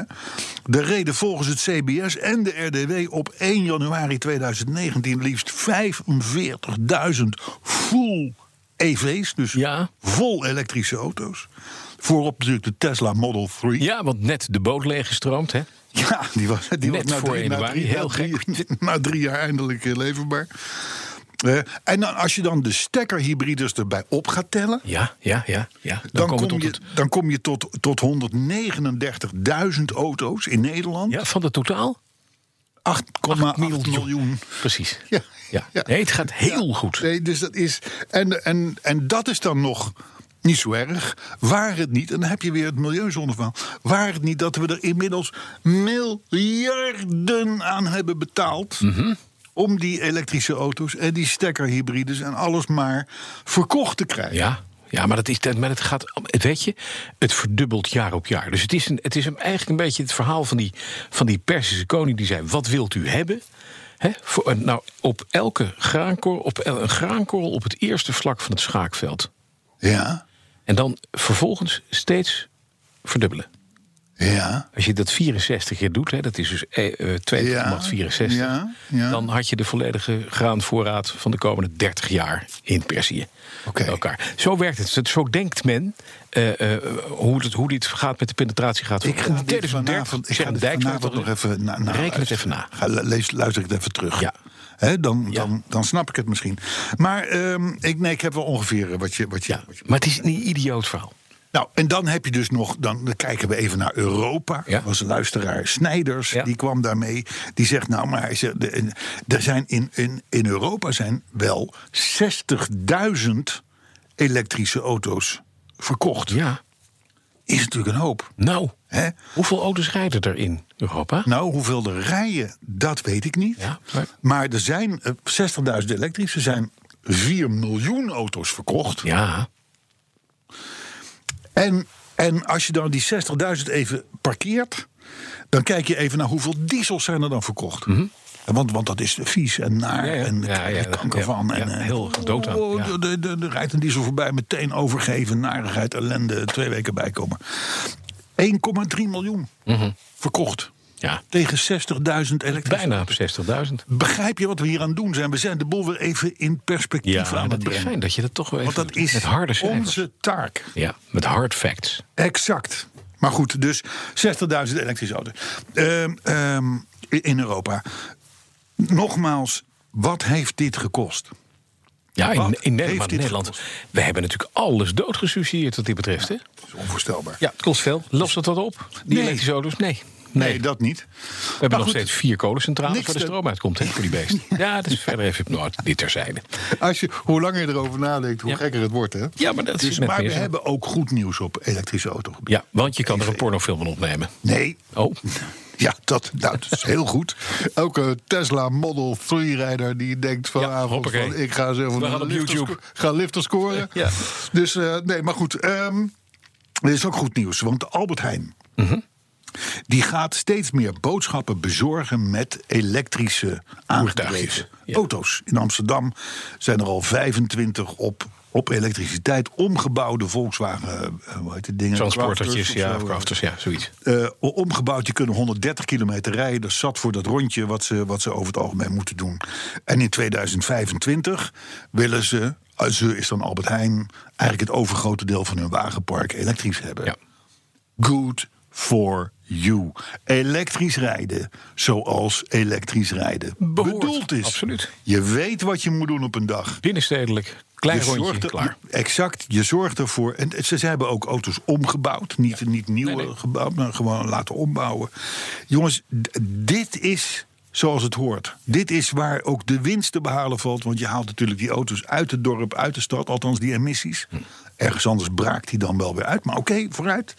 Speaker 3: Er reden volgens het CBS en de RDW op 1 januari 2019 liefst 45.000 full EV's, dus
Speaker 4: Ja.
Speaker 3: vol elektrische auto's. Voorop natuurlijk de Tesla Model 3.
Speaker 4: Ja, want net de boot leeggestroomd hè.
Speaker 3: Ja, die was, die
Speaker 4: Net
Speaker 3: was na
Speaker 4: voor
Speaker 3: drie, na,
Speaker 4: januari,
Speaker 3: drie,
Speaker 4: heel
Speaker 3: na, drie, na drie jaar eindelijk eh, leverbaar. Eh, en dan, als je dan de stekkerhybrides erbij op gaat tellen...
Speaker 4: Ja, ja, ja. ja. Dan,
Speaker 3: Dan,
Speaker 4: komen we
Speaker 3: kom
Speaker 4: tot
Speaker 3: je,
Speaker 4: het...
Speaker 3: dan kom je tot, tot 139.000 auto's in Nederland.
Speaker 4: Ja, van het totaal?
Speaker 3: 8,8 miljoen.
Speaker 4: Precies.
Speaker 3: Ja.
Speaker 4: Ja.
Speaker 3: Ja.
Speaker 4: Nee, het gaat heel goed.
Speaker 3: Nee, dus dat is, en, en, en dat is dan nog niet zo erg. Waar het niet, en dan heb je weer het milieuzonneval. Waar het niet dat we er inmiddels miljarden aan hebben betaald. Om die elektrische auto's en die stekkerhybrides en alles maar verkocht te krijgen.
Speaker 4: Ja, ja maar, dat is, dat- maar het gaat, het weet je, het verdubbelt jaar op jaar. Dus het is, een, het is een, eigenlijk een beetje het verhaal van die, van die Persische koning die zei: Wat wilt u hebben? Hè, voor, een- nou, op elke graankorrel, op el- een graankorrel op het eerste vlak van het schaakveld.
Speaker 3: Ja,
Speaker 4: En dan vervolgens steeds verdubbelen.
Speaker 3: ja.
Speaker 4: Als je dat 64 keer doet, hè, dat is dus eh, eh, 2
Speaker 3: Ja,
Speaker 4: macht 64,
Speaker 3: ja, ja.
Speaker 4: dan had je de volledige graanvoorraad van de komende 30 jaar in Perzië.
Speaker 3: Oké.
Speaker 4: bij elkaar. Zo werkt het. Zo denkt men eh, eh, hoe, het, hoe dit gaat met de penetratie gaat.
Speaker 3: Ik ga
Speaker 4: Om
Speaker 3: dit
Speaker 4: 2030,
Speaker 3: vanavond, ik
Speaker 4: zeggen
Speaker 3: ga dit
Speaker 4: Dijkstra
Speaker 3: vanavond
Speaker 4: dat
Speaker 3: nog
Speaker 4: er-
Speaker 3: even na, na-
Speaker 4: Reken het
Speaker 3: luisteren.
Speaker 4: even na.
Speaker 3: Ga, lees, luister ik het even terug.
Speaker 4: Ja.
Speaker 3: Hè, dan,
Speaker 4: Ja.
Speaker 3: Dan, dan snap ik het misschien. Maar ehm, ik, nee, ik heb wel ongeveer eh, wat je, wat je,
Speaker 4: Ja,
Speaker 3: wat je-
Speaker 4: maar het is een idioot verhaal.
Speaker 3: Nou, en dan heb je dus nog, dan kijken we even naar Europa.
Speaker 4: Ja.
Speaker 3: Er was een luisteraar Snijders,
Speaker 4: Ja.
Speaker 3: die kwam daarmee. Die zegt, nou, maar hij zegt, de- er zijn in, in, in Europa zijn wel 60.000 elektrische auto's verkocht.
Speaker 4: Ja,
Speaker 3: Is natuurlijk een hoop.
Speaker 4: nou,
Speaker 3: Hè?
Speaker 4: hoeveel auto's rijden er in Europa?
Speaker 3: Nou, hoeveel er rijden, dat weet ik niet.
Speaker 4: Ja,
Speaker 3: maar...
Speaker 4: maar-
Speaker 3: er zijn eh, 60.000 elektrische, er zijn 4 miljoen auto's verkocht.
Speaker 4: Ja,
Speaker 3: En, en als je dan die 60.000 even parkeert, dan kijk je even naar hoeveel diesels zijn er dan verkocht. Want, want dat is vies en naar
Speaker 4: Mhm. Ja, ja.
Speaker 3: en daar
Speaker 4: Ja,
Speaker 3: krijg je
Speaker 4: ja,
Speaker 3: kanker
Speaker 4: ja.
Speaker 3: van. en,
Speaker 4: Ja,
Speaker 3: eh,
Speaker 4: heel dood aan,
Speaker 3: oh,
Speaker 4: ja.
Speaker 3: de- de- de- de rijdt een diesel voorbij, meteen overgeven, narigheid,
Speaker 4: Mhm.
Speaker 3: ellende, twee weken bijkomen. 1,3 miljoen verkocht.
Speaker 4: Ja.
Speaker 3: Tegen 60.000 elektrische
Speaker 4: Bijna op 60.000.
Speaker 3: Begrijp je wat we hier aan doen zijn? We zijn de boel weer even in perspectief aan het
Speaker 4: dat is
Speaker 3: brengen.
Speaker 4: fijn dat je dat toch wel even
Speaker 3: Want dat
Speaker 4: doet.
Speaker 3: is
Speaker 4: met harde cijfers.
Speaker 3: onze taak.
Speaker 4: Ja, met hard facts.
Speaker 3: Exact. Maar goed, dus 60.000 elektrische auto's Ehm, ehm, in Europa. Nogmaals, wat heeft dit gekost?
Speaker 4: Ja, in,
Speaker 3: Wat
Speaker 4: in Nederland,
Speaker 3: heeft
Speaker 4: maar in
Speaker 3: dit
Speaker 4: Nederland.
Speaker 3: gekost?
Speaker 4: We hebben natuurlijk alles doodgesubsidieerd wat dit betreft. Hè?
Speaker 3: Dat is onvoorstelbaar.
Speaker 4: Ja, het kost veel. Lost dat wat op? Die
Speaker 3: Nee.
Speaker 4: elektrische auto's? Nee.
Speaker 3: nee.
Speaker 4: Nee, we
Speaker 3: dat niet.
Speaker 4: hebben nog
Speaker 3: goed,
Speaker 4: steeds vier kolencentrales
Speaker 3: niks
Speaker 4: waar de
Speaker 3: te-
Speaker 4: stroom uitkomt hè, voor die beesten. Ja, dat is verder even nou, dit terzijde.
Speaker 5: Als je, hoe langer je erover nadenkt, hoe
Speaker 4: Ja.
Speaker 5: gekker het wordt, hè?
Speaker 4: Ja, maar dat
Speaker 3: Dus,
Speaker 4: is net
Speaker 3: maar
Speaker 4: meer
Speaker 3: we
Speaker 4: zo.
Speaker 3: hebben ook goed nieuws op elektrische autogebied.
Speaker 4: Ja, want je kan er een pornofilm van opnemen.
Speaker 3: Nee,
Speaker 4: Oh,
Speaker 3: ja, dat, nou, dat is heel goed.
Speaker 5: Elke Tesla Model 3-rijder die denkt vanavond
Speaker 4: hoppakee.
Speaker 5: van... ik ga zo even
Speaker 4: We gaan op
Speaker 5: lifter
Speaker 4: YouTube.
Speaker 5: sco- ga lifter scoren.
Speaker 4: Ja.
Speaker 5: Dus eh, nee, maar
Speaker 3: Maar goed, ehm er is ook goed nieuws. Want Albert Heijn
Speaker 4: Mhm.
Speaker 3: die gaat steeds meer boodschappen bezorgen met elektrische aangedreven
Speaker 4: ja.
Speaker 3: auto's. In Amsterdam zijn er al 25 op, op elektriciteit omgebouwde Volkswagen, eh, hoe heet het ding?
Speaker 4: transportertjes,
Speaker 3: Crafters of
Speaker 4: ja,
Speaker 3: zo.
Speaker 4: crafters, ja, zoiets.
Speaker 3: Eh, o- omgebouwd. Je kunnen 130 kilometer rijden. Dat is zat voor dat rondje wat ze, wat ze over het algemeen moeten doen. En in 2025 willen ze, eh, ze is dan Albert Heijn, eigenlijk het overgrote deel van hun wagenpark elektrisch hebben.
Speaker 4: Ja.
Speaker 3: Good for you. Elektrisch rijden zoals elektrisch rijden
Speaker 4: Behoort,
Speaker 3: bedoeld is.
Speaker 4: absoluut.
Speaker 3: Je weet wat je moet doen op een dag.
Speaker 4: Binnenstedelijk, klein
Speaker 3: Je
Speaker 4: rondje,
Speaker 3: zorgt er-
Speaker 4: klaar.
Speaker 3: Exact, je zorgt ervoor. En ze, ze hebben ook auto's omgebouwd. Niet, niet nieuwe
Speaker 4: Nee, nee.
Speaker 3: gebouwd, maar gewoon laten ombouwen. Jongens, d- dit is zoals het hoort. Dit is waar ook de winst te behalen valt. Want je haalt natuurlijk die auto's uit het dorp, uit de stad. Althans, die emissies.
Speaker 4: Hm.
Speaker 3: Ergens anders braakt die dan wel weer uit. Maar oké, vooruit.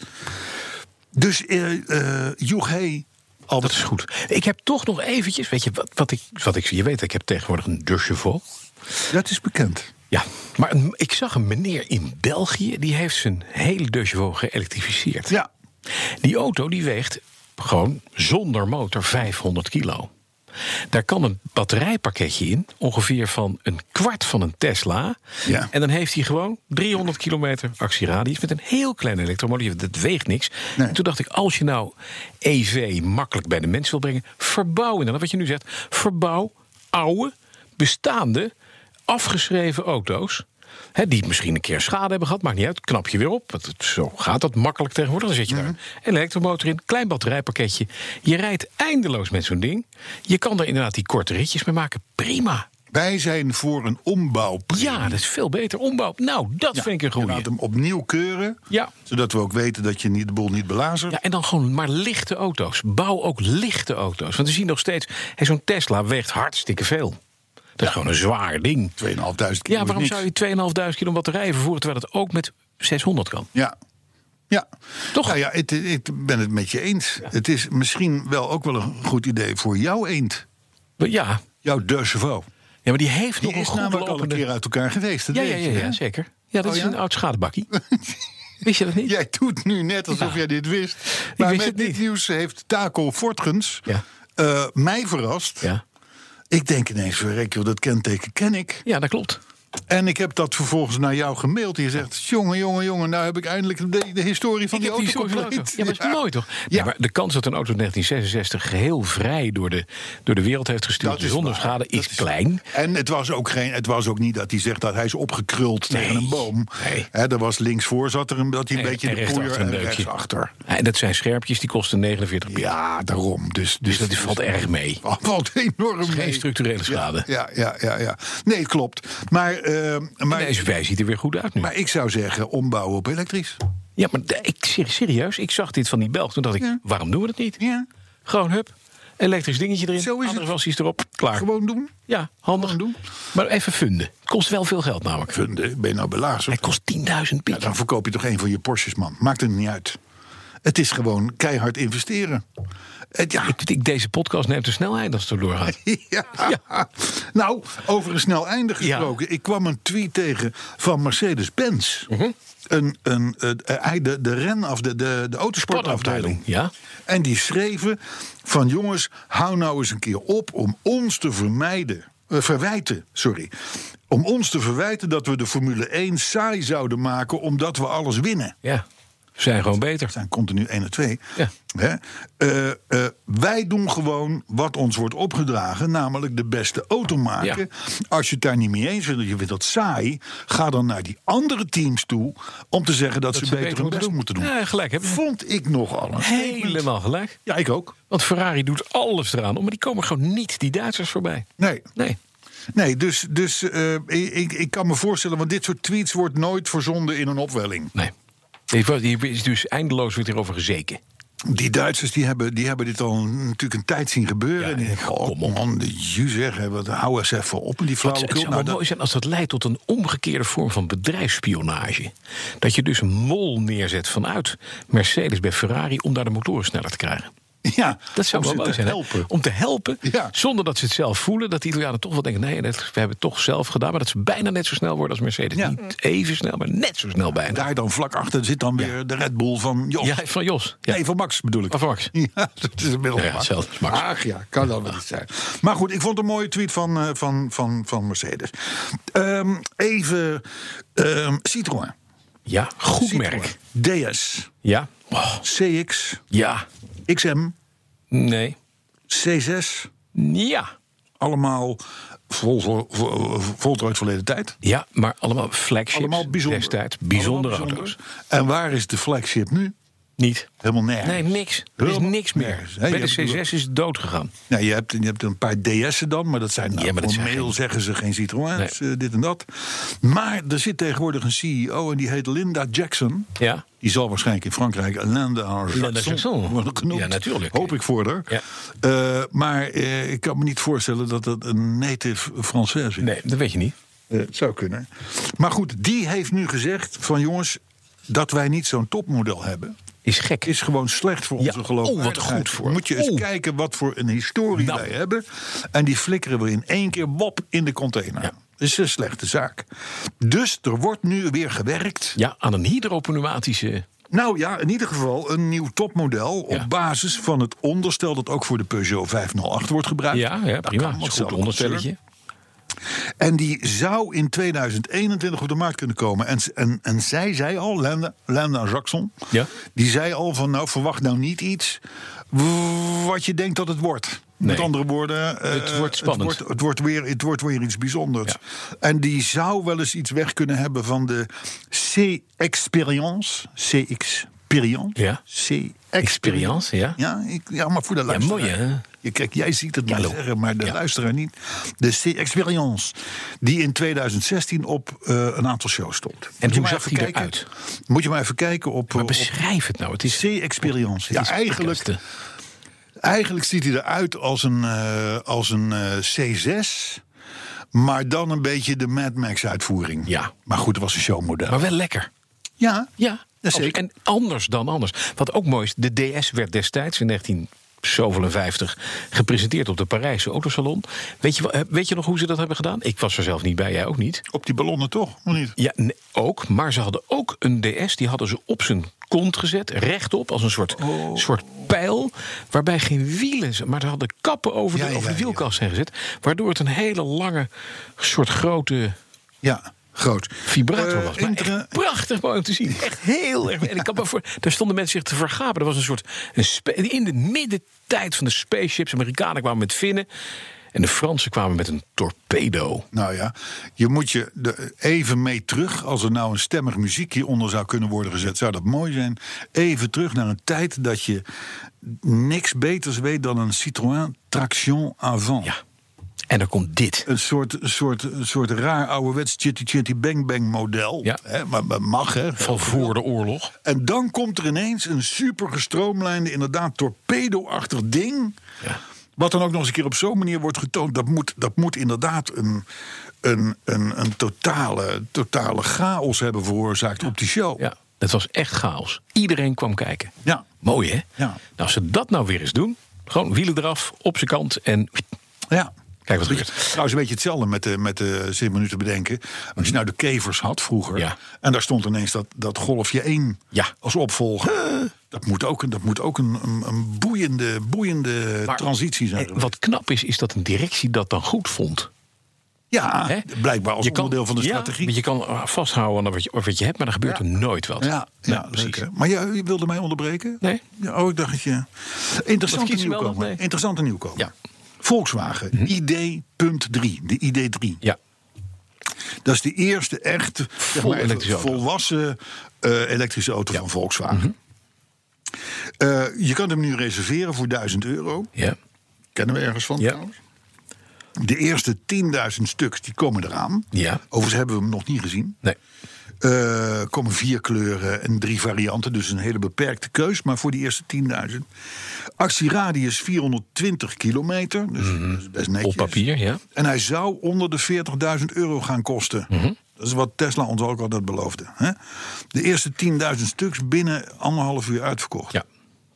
Speaker 3: Dus eh eh joeg, hey,
Speaker 4: Dat is goed. Ik heb toch nog eventjes, weet je, wat, wat ik, wat ik, je weet, ik heb tegenwoordig een De Chauffeur.
Speaker 3: dat is bekend.
Speaker 4: Ja, maar een- ik zag een meneer in België, die heeft zijn hele De Chauffeur geëlektrificeerd.
Speaker 3: Ja,
Speaker 4: Die auto die weegt gewoon zonder motor 500 kilo. Daar kan een batterijpakketje in, ongeveer van een kwart van een Tesla.
Speaker 3: Ja.
Speaker 4: En dan heeft hij gewoon 300 kilometer actieradius met een heel klein elektromotor. Dat weegt niks.
Speaker 3: Nee.
Speaker 4: En Toen dacht ik, als je nou EV makkelijk bij de mens wil brengen, verbouw inderdaad wat je nu zegt. Verbouw oude, bestaande, afgeschreven auto's. Hè, die misschien een keer schade hebben gehad, maakt niet uit. Knap je weer op. Want het- zo gaat dat makkelijk tegenwoordig. Dan zet je daar een elektromotor in, klein batterijpakketje. Je rijdt eindeloos met zo'n ding. Je kan er inderdaad die korte ritjes mee maken. Prima.
Speaker 3: wij zijn voor een ombouw.
Speaker 4: Ja, dat is veel beter. Ombouw. Nou, dat vind ik een
Speaker 3: Je
Speaker 4: goeie.
Speaker 3: laat hem opnieuw keuren.
Speaker 4: Ja.
Speaker 3: Zodat we ook weten dat je niet, de boel niet belazert.
Speaker 4: Ja, en dan gewoon maar lichte auto's. Bouw ook lichte auto's. Want we zien nog steeds, hé, zo'n Tesla weegt hartstikke veel. Dat is gewoon een zwaar ding.
Speaker 3: 2.500 kilo.
Speaker 4: Ja,
Speaker 3: is
Speaker 4: waarom
Speaker 3: niks.
Speaker 4: zou je 2.500 kilo batterij vervoeren terwijl dat ook met 600 kan?
Speaker 3: Ja. Ja.
Speaker 4: Toch?
Speaker 3: Nou ja, het- ik ben het met je eens. Het is misschien wel ook wel een goed idee voor jouw eend.
Speaker 4: Maar Ja,
Speaker 3: Jouw de chauffeur.
Speaker 4: ja maar die heeft
Speaker 3: Die
Speaker 4: nog een
Speaker 3: is
Speaker 4: goed
Speaker 3: namelijk al een
Speaker 4: lopende...
Speaker 3: keer uit elkaar geweest. dat
Speaker 4: ja, ja,
Speaker 3: weet
Speaker 4: ja,
Speaker 3: je,
Speaker 4: ja,
Speaker 3: hè?
Speaker 4: zeker. Ja, dat
Speaker 3: Oh,
Speaker 4: is
Speaker 3: ja?
Speaker 4: een oud schadebakkie. Wist je dat niet?
Speaker 3: Jij doet nu net alsof
Speaker 4: Ja.
Speaker 3: jij dit wist. Maar
Speaker 4: wist
Speaker 3: met
Speaker 4: het
Speaker 3: dit
Speaker 4: niet.
Speaker 3: nieuws heeft Taco Fortgens
Speaker 4: Ja.
Speaker 3: eh, mij verrast.
Speaker 4: Ja.
Speaker 3: Ik denk ineens, verrek joh, dat kenteken ken ik.
Speaker 4: ja, dat klopt.
Speaker 3: En ik heb dat vervolgens naar jou gemaild. Je zegt, jongen, jongen, jongen, nou heb ik eindelijk de, de historie van
Speaker 4: Ik
Speaker 3: die
Speaker 4: heb die
Speaker 3: auto
Speaker 4: soort van auto.
Speaker 3: compleet.
Speaker 4: Ja, maar is mooi toch? Nee,
Speaker 3: Ja.
Speaker 4: maar de kans dat een auto in 1966 geheel vrij door de, door de wereld heeft gestuurd zonder
Speaker 3: waar.
Speaker 4: schade
Speaker 3: Dat
Speaker 4: is klein.
Speaker 3: En het was, ook geen, het was ook niet dat hij zegt dat hij is opgekruld
Speaker 4: Nee,
Speaker 3: tegen een boom.
Speaker 4: nee.
Speaker 3: Hè, er was linksvoor zat er een, dat hij een
Speaker 4: En-
Speaker 3: beetje
Speaker 4: en
Speaker 3: de
Speaker 4: rechtsachter
Speaker 3: poeier
Speaker 4: een
Speaker 3: en
Speaker 4: deukje.
Speaker 3: rechtsachter.
Speaker 4: En dat zijn scherpjes, die kosten 49 piek.
Speaker 3: Ja, daarom. Dus,
Speaker 4: Dus dat valt erg mee.
Speaker 3: Valt enorm
Speaker 4: Geen
Speaker 3: mee.
Speaker 4: structurele schade.
Speaker 3: Ja, ja, ja, ja. Nee, klopt. Maar, eh, maar,
Speaker 4: Deze wij ziet er weer goed uit nu.
Speaker 3: maar ik zou zeggen, ombouwen op elektrisch.
Speaker 4: ja, maar de- ik, ser- serieus, ik zag dit van die Belg. Toen dacht ik,
Speaker 3: Ja.
Speaker 4: waarom doen we dat niet?
Speaker 3: Ja.
Speaker 4: Gewoon hup, elektrisch dingetje erin.
Speaker 3: Zo is het.
Speaker 4: andere versies erop, klaar.
Speaker 3: Gewoon doen.
Speaker 4: ja, handig. Doen. Maar even funden. Kost wel veel geld namelijk.
Speaker 3: Vinden, ben je nou belazerd?
Speaker 4: Het kost 10.000 piek.
Speaker 3: Ja, dan verkoop je toch een van je Porsches, man. Maakt het niet uit. Het is gewoon keihard investeren. Het, ja,
Speaker 4: ik, ik- deze podcast neemt een snelheid als het er doorgaat.
Speaker 3: Ja. Nou, over een snel einde gesproken. Ik kwam een tweet tegen van Mercedes-Benz. Een, een, eh, eh, de, de ren of de, de, de autosportafdeling.
Speaker 4: Ja.
Speaker 3: En die schreven van jongens, hou nou eens een keer op om ons te vermijden. eh, verwijten, sorry. Om ons te verwijten dat we de Formule 1 saai zouden maken omdat we alles winnen.
Speaker 4: ja. We zijn gewoon beter.
Speaker 3: zijn continu 1 en 2.
Speaker 4: Ja.
Speaker 3: Hè? Eh, eh, wij doen gewoon wat ons wordt opgedragen, namelijk de beste auto maken. Als je het daar niet mee eens bent, je vindt dat saai, ga dan naar die andere teams toe om te zeggen dat, ze,
Speaker 4: ze
Speaker 3: beter
Speaker 4: beter
Speaker 3: hun
Speaker 4: hun
Speaker 3: best
Speaker 4: best-
Speaker 3: moeten doen.
Speaker 4: Ja, gelijk hebben ze.
Speaker 3: Vond ik nogal een statement.
Speaker 4: Helemaal gelijk.
Speaker 3: Ja, ik ook.
Speaker 4: Want Ferrari doet alles eraan om, maar die komen gewoon niet die Duitsers voorbij.
Speaker 3: Nee,
Speaker 4: Nee.
Speaker 3: nee dus, dus eh, ik, ik kan me voorstellen, want dit soort tweets wordt nooit verzonden in een opwelling.
Speaker 4: Nee. Dit was- Hier is dus eindeloos wordt hierover gezeken.
Speaker 3: Die Duitsers die hebben, die hebben dit al natuurlijk een tijd zien gebeuren.
Speaker 4: Ja,
Speaker 3: en die denken,
Speaker 4: kom
Speaker 3: oh
Speaker 4: op.
Speaker 3: man, de ju zeg, hè, wat, hou eens even op met die
Speaker 4: Het
Speaker 3: flauwekul.
Speaker 4: zou
Speaker 3: Nou,
Speaker 4: wel
Speaker 3: dat-
Speaker 4: mooi zijn als dat leidt tot een omgekeerde vorm van bedrijfsspionage. Dat je dus een mol neerzet vanuit Mercedes bij Ferrari om daar de motoren sneller te krijgen.
Speaker 3: ja,
Speaker 4: Dat zou
Speaker 3: om ze
Speaker 4: wel mooi
Speaker 3: te
Speaker 4: zijn. hè?
Speaker 3: helpen.
Speaker 4: Om te helpen,
Speaker 3: Ja.
Speaker 4: zonder dat ze het zelf voelen. Dat de Italianen toch wel denken, nee, dat, we hebben het toch zelf gedaan. Maar dat ze bijna net zo snel worden als Mercedes.
Speaker 3: Ja.
Speaker 4: Niet even snel, maar net zo snel bijna.
Speaker 3: Daar dan vlak achter zit dan weer de Red Bull van Jos.
Speaker 4: ja, van Jos. Ja.
Speaker 3: Nee, van Max bedoel ik.
Speaker 4: Of Max.
Speaker 3: Ja, dat is inmiddels Max.
Speaker 4: Ja,
Speaker 3: Ah,
Speaker 4: hetzelfde als Max.
Speaker 3: Ach ja, kan dat wel niet zijn. Maar goed, ik vond een mooie tweet van, eh, van, van, van Mercedes. Ehm, even ehm, Citroën.
Speaker 4: Ja, goed
Speaker 3: Citroën.
Speaker 4: merk.
Speaker 3: DS,
Speaker 4: Ja. Oh,
Speaker 3: CX,
Speaker 4: ja.
Speaker 3: XM,
Speaker 4: Nee.
Speaker 3: C6.
Speaker 4: Ja.
Speaker 3: Allemaal vol, vol, vol, voltooid verleden tijd.
Speaker 4: Ja, maar allemaal flagships
Speaker 3: Allemaal bijzonder.
Speaker 4: destijds. Bijzondere
Speaker 3: Allemaal
Speaker 4: auto's.
Speaker 3: bijzonder. En waar is de flagship nu?
Speaker 4: Niet.
Speaker 3: Helemaal nergens.
Speaker 4: Nee, niks. Er is
Speaker 3: Helemaal
Speaker 4: niks meer.
Speaker 3: nergens, hè?
Speaker 4: Bij de
Speaker 3: Je hebt-
Speaker 4: C6 is het dood gegaan.
Speaker 3: Nou, je, hebt, je hebt een paar DS'en dan, maar dat zijn nou,
Speaker 4: Ja, maar dat zijn
Speaker 3: formeel
Speaker 4: geen-
Speaker 3: zeggen ze geen Citroëns, eh, dit en dat. Maar er zit tegenwoordig een CEO en die heet Linda Jackson.
Speaker 4: Ja.
Speaker 3: Die zal waarschijnlijk in Frankrijk Linda
Speaker 4: Linda
Speaker 3: Jackson
Speaker 4: Jackson.
Speaker 3: worden genoemd.
Speaker 4: Ja, natuurlijk.
Speaker 3: Hoop ik voor haar.
Speaker 4: Ja.
Speaker 3: Eh, maar eh, ik kan me niet voorstellen dat dat een native Française is.
Speaker 4: Nee, dat weet je niet.
Speaker 3: Eh, het zou kunnen. Maar goed, die heeft nu gezegd van jongens, dat wij niet zo'n topmodel hebben...
Speaker 4: Is gek.
Speaker 3: is gewoon slecht voor
Speaker 4: Ja,
Speaker 3: onze geloofwaardigheid.
Speaker 4: oh, wat goed voor.
Speaker 3: Moet je eens
Speaker 4: Oh.
Speaker 3: kijken wat voor een historie
Speaker 4: Nou.
Speaker 3: wij hebben. En die flikkeren we in één keer wop in de container.
Speaker 4: Ja.
Speaker 3: Dat is een slechte zaak. Dus er wordt nu weer gewerkt.
Speaker 4: Ja, aan een hydropneumatische...
Speaker 3: Nou ja, in ieder geval een nieuw topmodel... op
Speaker 4: Ja.
Speaker 3: basis van het onderstel dat ook voor de Peugeot 508 wordt gebruikt.
Speaker 4: Ja, ja
Speaker 3: Ah, Dat kan
Speaker 4: prima. Is
Speaker 3: allemaal
Speaker 4: een goed
Speaker 3: hetzelfde
Speaker 4: onderstelletje.
Speaker 3: en die zou in 2021 op de markt kunnen komen. En, en, en zij zei al, Landa, Landa Jackson,
Speaker 4: Ja.
Speaker 3: die zei al van nou verwacht nou niet iets w- wat je denkt dat het wordt. Met
Speaker 4: Nee.
Speaker 3: andere woorden, eh,
Speaker 4: Het wordt spannend.
Speaker 3: Het wordt, het wordt weer, het wordt weer iets bijzonders. En die zou wel eens iets weg kunnen hebben van de C-experience. C-experience.
Speaker 4: Ja.
Speaker 3: C-experience.
Speaker 4: Experience, ja.
Speaker 3: Ja, ik, ja, maar voor de luisteraar.
Speaker 4: mooi, hè?
Speaker 3: Je, kijk, jij ziet het maar
Speaker 4: Hallo.
Speaker 3: zeggen, maar de
Speaker 4: Ja.
Speaker 3: luisteraar niet. De C-Experience, die in 2016 op eh, een aantal shows stond. En
Speaker 4: hoe zag die eruit?
Speaker 3: Moet je maar even kijken op, eh,
Speaker 4: Maar
Speaker 3: op
Speaker 4: beschrijf het nou. Het is...
Speaker 3: C-Experience. Ja,
Speaker 4: het is
Speaker 3: eigenlijk,
Speaker 4: podcast,
Speaker 3: eigenlijk ziet hij eruit als een, eh, als een eh, C6... Maar dan een beetje de Mad Max-uitvoering.
Speaker 4: Ja.
Speaker 3: Maar goed, het was een
Speaker 4: hè.
Speaker 3: showmodel.
Speaker 4: Maar wel lekker.
Speaker 3: ja,
Speaker 4: Ja,
Speaker 3: dat zeker.
Speaker 4: En anders dan anders. Wat ook mooi is, de DS werd destijds in 1957 gepresenteerd op de Parijse Autosalon. Weet je, wel- eh, weet je nog hoe ze dat hebben gedaan? Ik was er zelf niet bij, jij ook niet.
Speaker 3: Op die ballonnen toch, of niet?
Speaker 4: Ja, nee, ook. Maar ze hadden ook een DS, die hadden ze op zijn kont gezet, rechtop, als een soort,
Speaker 3: Oh.
Speaker 4: soort pijl. Waarbij geen wielen, z- maar ze hadden kappen over de,
Speaker 3: Ja, ja,
Speaker 4: over de
Speaker 3: ja.
Speaker 4: wielkast zijn gezet. Waardoor het een hele lange, soort grote
Speaker 3: Ja, groot.
Speaker 4: vibrator
Speaker 3: Eh,
Speaker 4: was. Maar
Speaker 3: inter-
Speaker 4: echt prachtig mooi om te zien. Echt heel erg. En ik kan me voor, daar stonden mensen zich te vergapen. Er was een soort. Een spe- in de middentijd van de spaceships. De Amerikanen kwamen met vinnen. En de Fransen kwamen met een torpedo.
Speaker 3: Nou ja, je moet je er even mee terug. Als er nou een stemmig muziek hieronder zou kunnen worden gezet, zou dat mooi zijn. Even terug naar een tijd dat je niks beters weet dan een Citroën Traction Avant.
Speaker 4: Ja. En dan komt dit.
Speaker 3: Een soort, een soort, een soort raar ouderwets chitty chitty bang bang model.
Speaker 4: Ja.
Speaker 3: Hè, maar, maar mag, hè?
Speaker 4: Van voor de oorlog.
Speaker 3: En dan komt er ineens een super gestroomlijnde, inderdaad torpedo-achtig ding.
Speaker 4: Ja.
Speaker 3: Wat dan ook nog eens een keer op zo'n manier wordt getoond. Dat moet, dat moet inderdaad een, een, een, een totale, totale chaos hebben veroorzaakt op die show.
Speaker 4: Ja. Het was echt chaos. Iedereen kwam kijken.
Speaker 3: Ja.
Speaker 4: Mooi hè?
Speaker 3: Ja.
Speaker 4: Nou, als ze dat nou weer eens doen. Gewoon wielen eraf, op zijn kant en.
Speaker 3: Ja.
Speaker 4: Kijk wat er
Speaker 3: Beetje-
Speaker 4: gebeurt.
Speaker 3: Trouwens, een beetje hetzelfde met de, met de zin minuten bedenken. Als je nou de kevers had vroeger.
Speaker 4: Mhm. Ja.
Speaker 3: En daar stond ineens dat, dat golfje 1
Speaker 4: Ja.
Speaker 3: als opvolger. Dat moet ook, een- dat moet ook een, een, een boeiende, boeiende
Speaker 4: Maar- Eh,
Speaker 3: transitie zijn.
Speaker 4: En wat knap is, is dat een directie dat dan goed vond.
Speaker 3: Ja,
Speaker 4: Hè?
Speaker 3: blijkbaar als
Speaker 4: Je kan-
Speaker 3: onderdeel van de
Speaker 4: ja,
Speaker 3: strategie.
Speaker 4: maar je kan eh, vasthouden aan wat je, wat je hebt, maar er gebeurt
Speaker 3: Ja.
Speaker 4: er nooit wat.
Speaker 3: Ja, ja, precies. Maar jij je wilde mij onderbreken?
Speaker 4: Nee.
Speaker 3: Ja, oh, ik dacht dat je... Interessante
Speaker 4: kies je wel
Speaker 3: nieuwkomer.
Speaker 4: nog? Nee.
Speaker 3: Interessante nieuwkomer.
Speaker 4: Ja. Mhm.
Speaker 3: Volkswagen, ID.3, de ID3.
Speaker 4: Ja.
Speaker 3: Dat is de eerste echt zeg
Speaker 4: Vol
Speaker 3: maar, even
Speaker 4: elektrische auto.
Speaker 3: volwassen eh, elektrische auto van Volkswagen.
Speaker 4: Mhm.
Speaker 3: Eh, je kan hem nu reserveren voor 1000 euro.
Speaker 4: Ja.
Speaker 3: Kennen we ergens van
Speaker 4: Ja.
Speaker 3: trouwens. De eerste 10.000 stuks die komen eraan.
Speaker 4: Ja.
Speaker 3: Overigens hebben we hem nog niet gezien.
Speaker 4: Nee.
Speaker 3: Eh, komen vier kleuren en drie varianten. Dus een hele beperkte keus. Maar voor die eerste 10.000. Actieradius 420 kilometer. Dus dat is best netjes.
Speaker 4: Mhm. Op papier, ja.
Speaker 3: En hij zou onder de 40.000 euro gaan kosten.
Speaker 4: Mhm.
Speaker 3: Dat is wat Tesla ons ook altijd beloofde. Hè? De eerste 10.000 stuks binnen anderhalf uur uitverkocht.
Speaker 4: ja.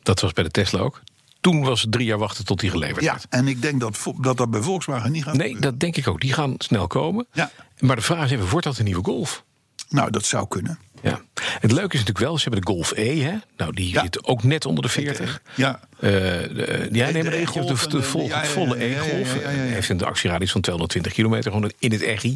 Speaker 4: Dat was bij de Tesla ook. Toen was het drie jaar wachten tot die geleverd
Speaker 3: Ja,
Speaker 4: werd.
Speaker 3: en ik denk dat vo- dat, dat bij Volkswagen niet gaat
Speaker 4: Nee,
Speaker 3: gebeuren.
Speaker 4: dat denk ik ook. Die gaan snel komen.
Speaker 3: Ja.
Speaker 4: Maar de vraag is even, wordt dat een nieuwe Golf?
Speaker 3: Nou, dat zou kunnen.
Speaker 4: Ja. Het leuke is natuurlijk wel, ze hebben de Golf E, hè? Nou, die
Speaker 3: Ja.
Speaker 4: zit ook net onder de 40.
Speaker 3: Ja,
Speaker 4: Eh, de- ja, nee, maar de,
Speaker 3: E-Golf
Speaker 4: de,
Speaker 3: en
Speaker 4: de,
Speaker 3: de-
Speaker 4: vol-
Speaker 3: ja, ja,
Speaker 4: volle
Speaker 3: ja, ja, ja,
Speaker 4: E-Golf
Speaker 3: ja, ja, ja.
Speaker 4: eh, heeft een actieradius van 220 kilometer gewoon in het Eggy.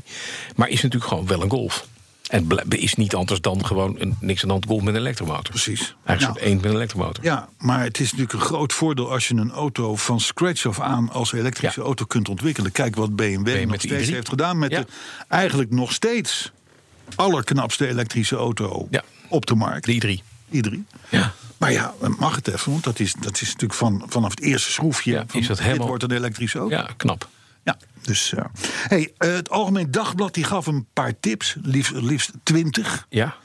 Speaker 4: Maar is natuurlijk gewoon wel een Golf. En bl- is niet anders dan gewoon een niks aan de hand Golf met een elektromotor.
Speaker 3: Precies.
Speaker 4: Eigenlijk
Speaker 3: Nou.
Speaker 4: zo'n eend met een elektromotor.
Speaker 3: Ja, maar het is natuurlijk een groot voordeel als je een auto van scratch af aan als elektrische
Speaker 4: Ja.
Speaker 3: auto kunt ontwikkelen. Kijk wat BMW nog
Speaker 4: met de
Speaker 3: steeds
Speaker 4: i3.
Speaker 3: heeft gedaan met
Speaker 4: Ja.
Speaker 3: de eigenlijk nog steeds allerknapste elektrische auto
Speaker 4: Ja.
Speaker 3: op de markt.
Speaker 4: De i3.
Speaker 3: i3.
Speaker 4: Ja.
Speaker 3: Maar ja, mag het even, want dat is, dat is natuurlijk van, vanaf het eerste schroefje.
Speaker 4: Ja,
Speaker 3: van,
Speaker 4: is dat helemaal-
Speaker 3: Dit wordt een elektrische auto.
Speaker 4: ja, knap.
Speaker 3: Ja, dus. eh, hey, eh, het Algemeen Dagblad die gaf een paar tips, liefst, liefst 20,
Speaker 4: Ja.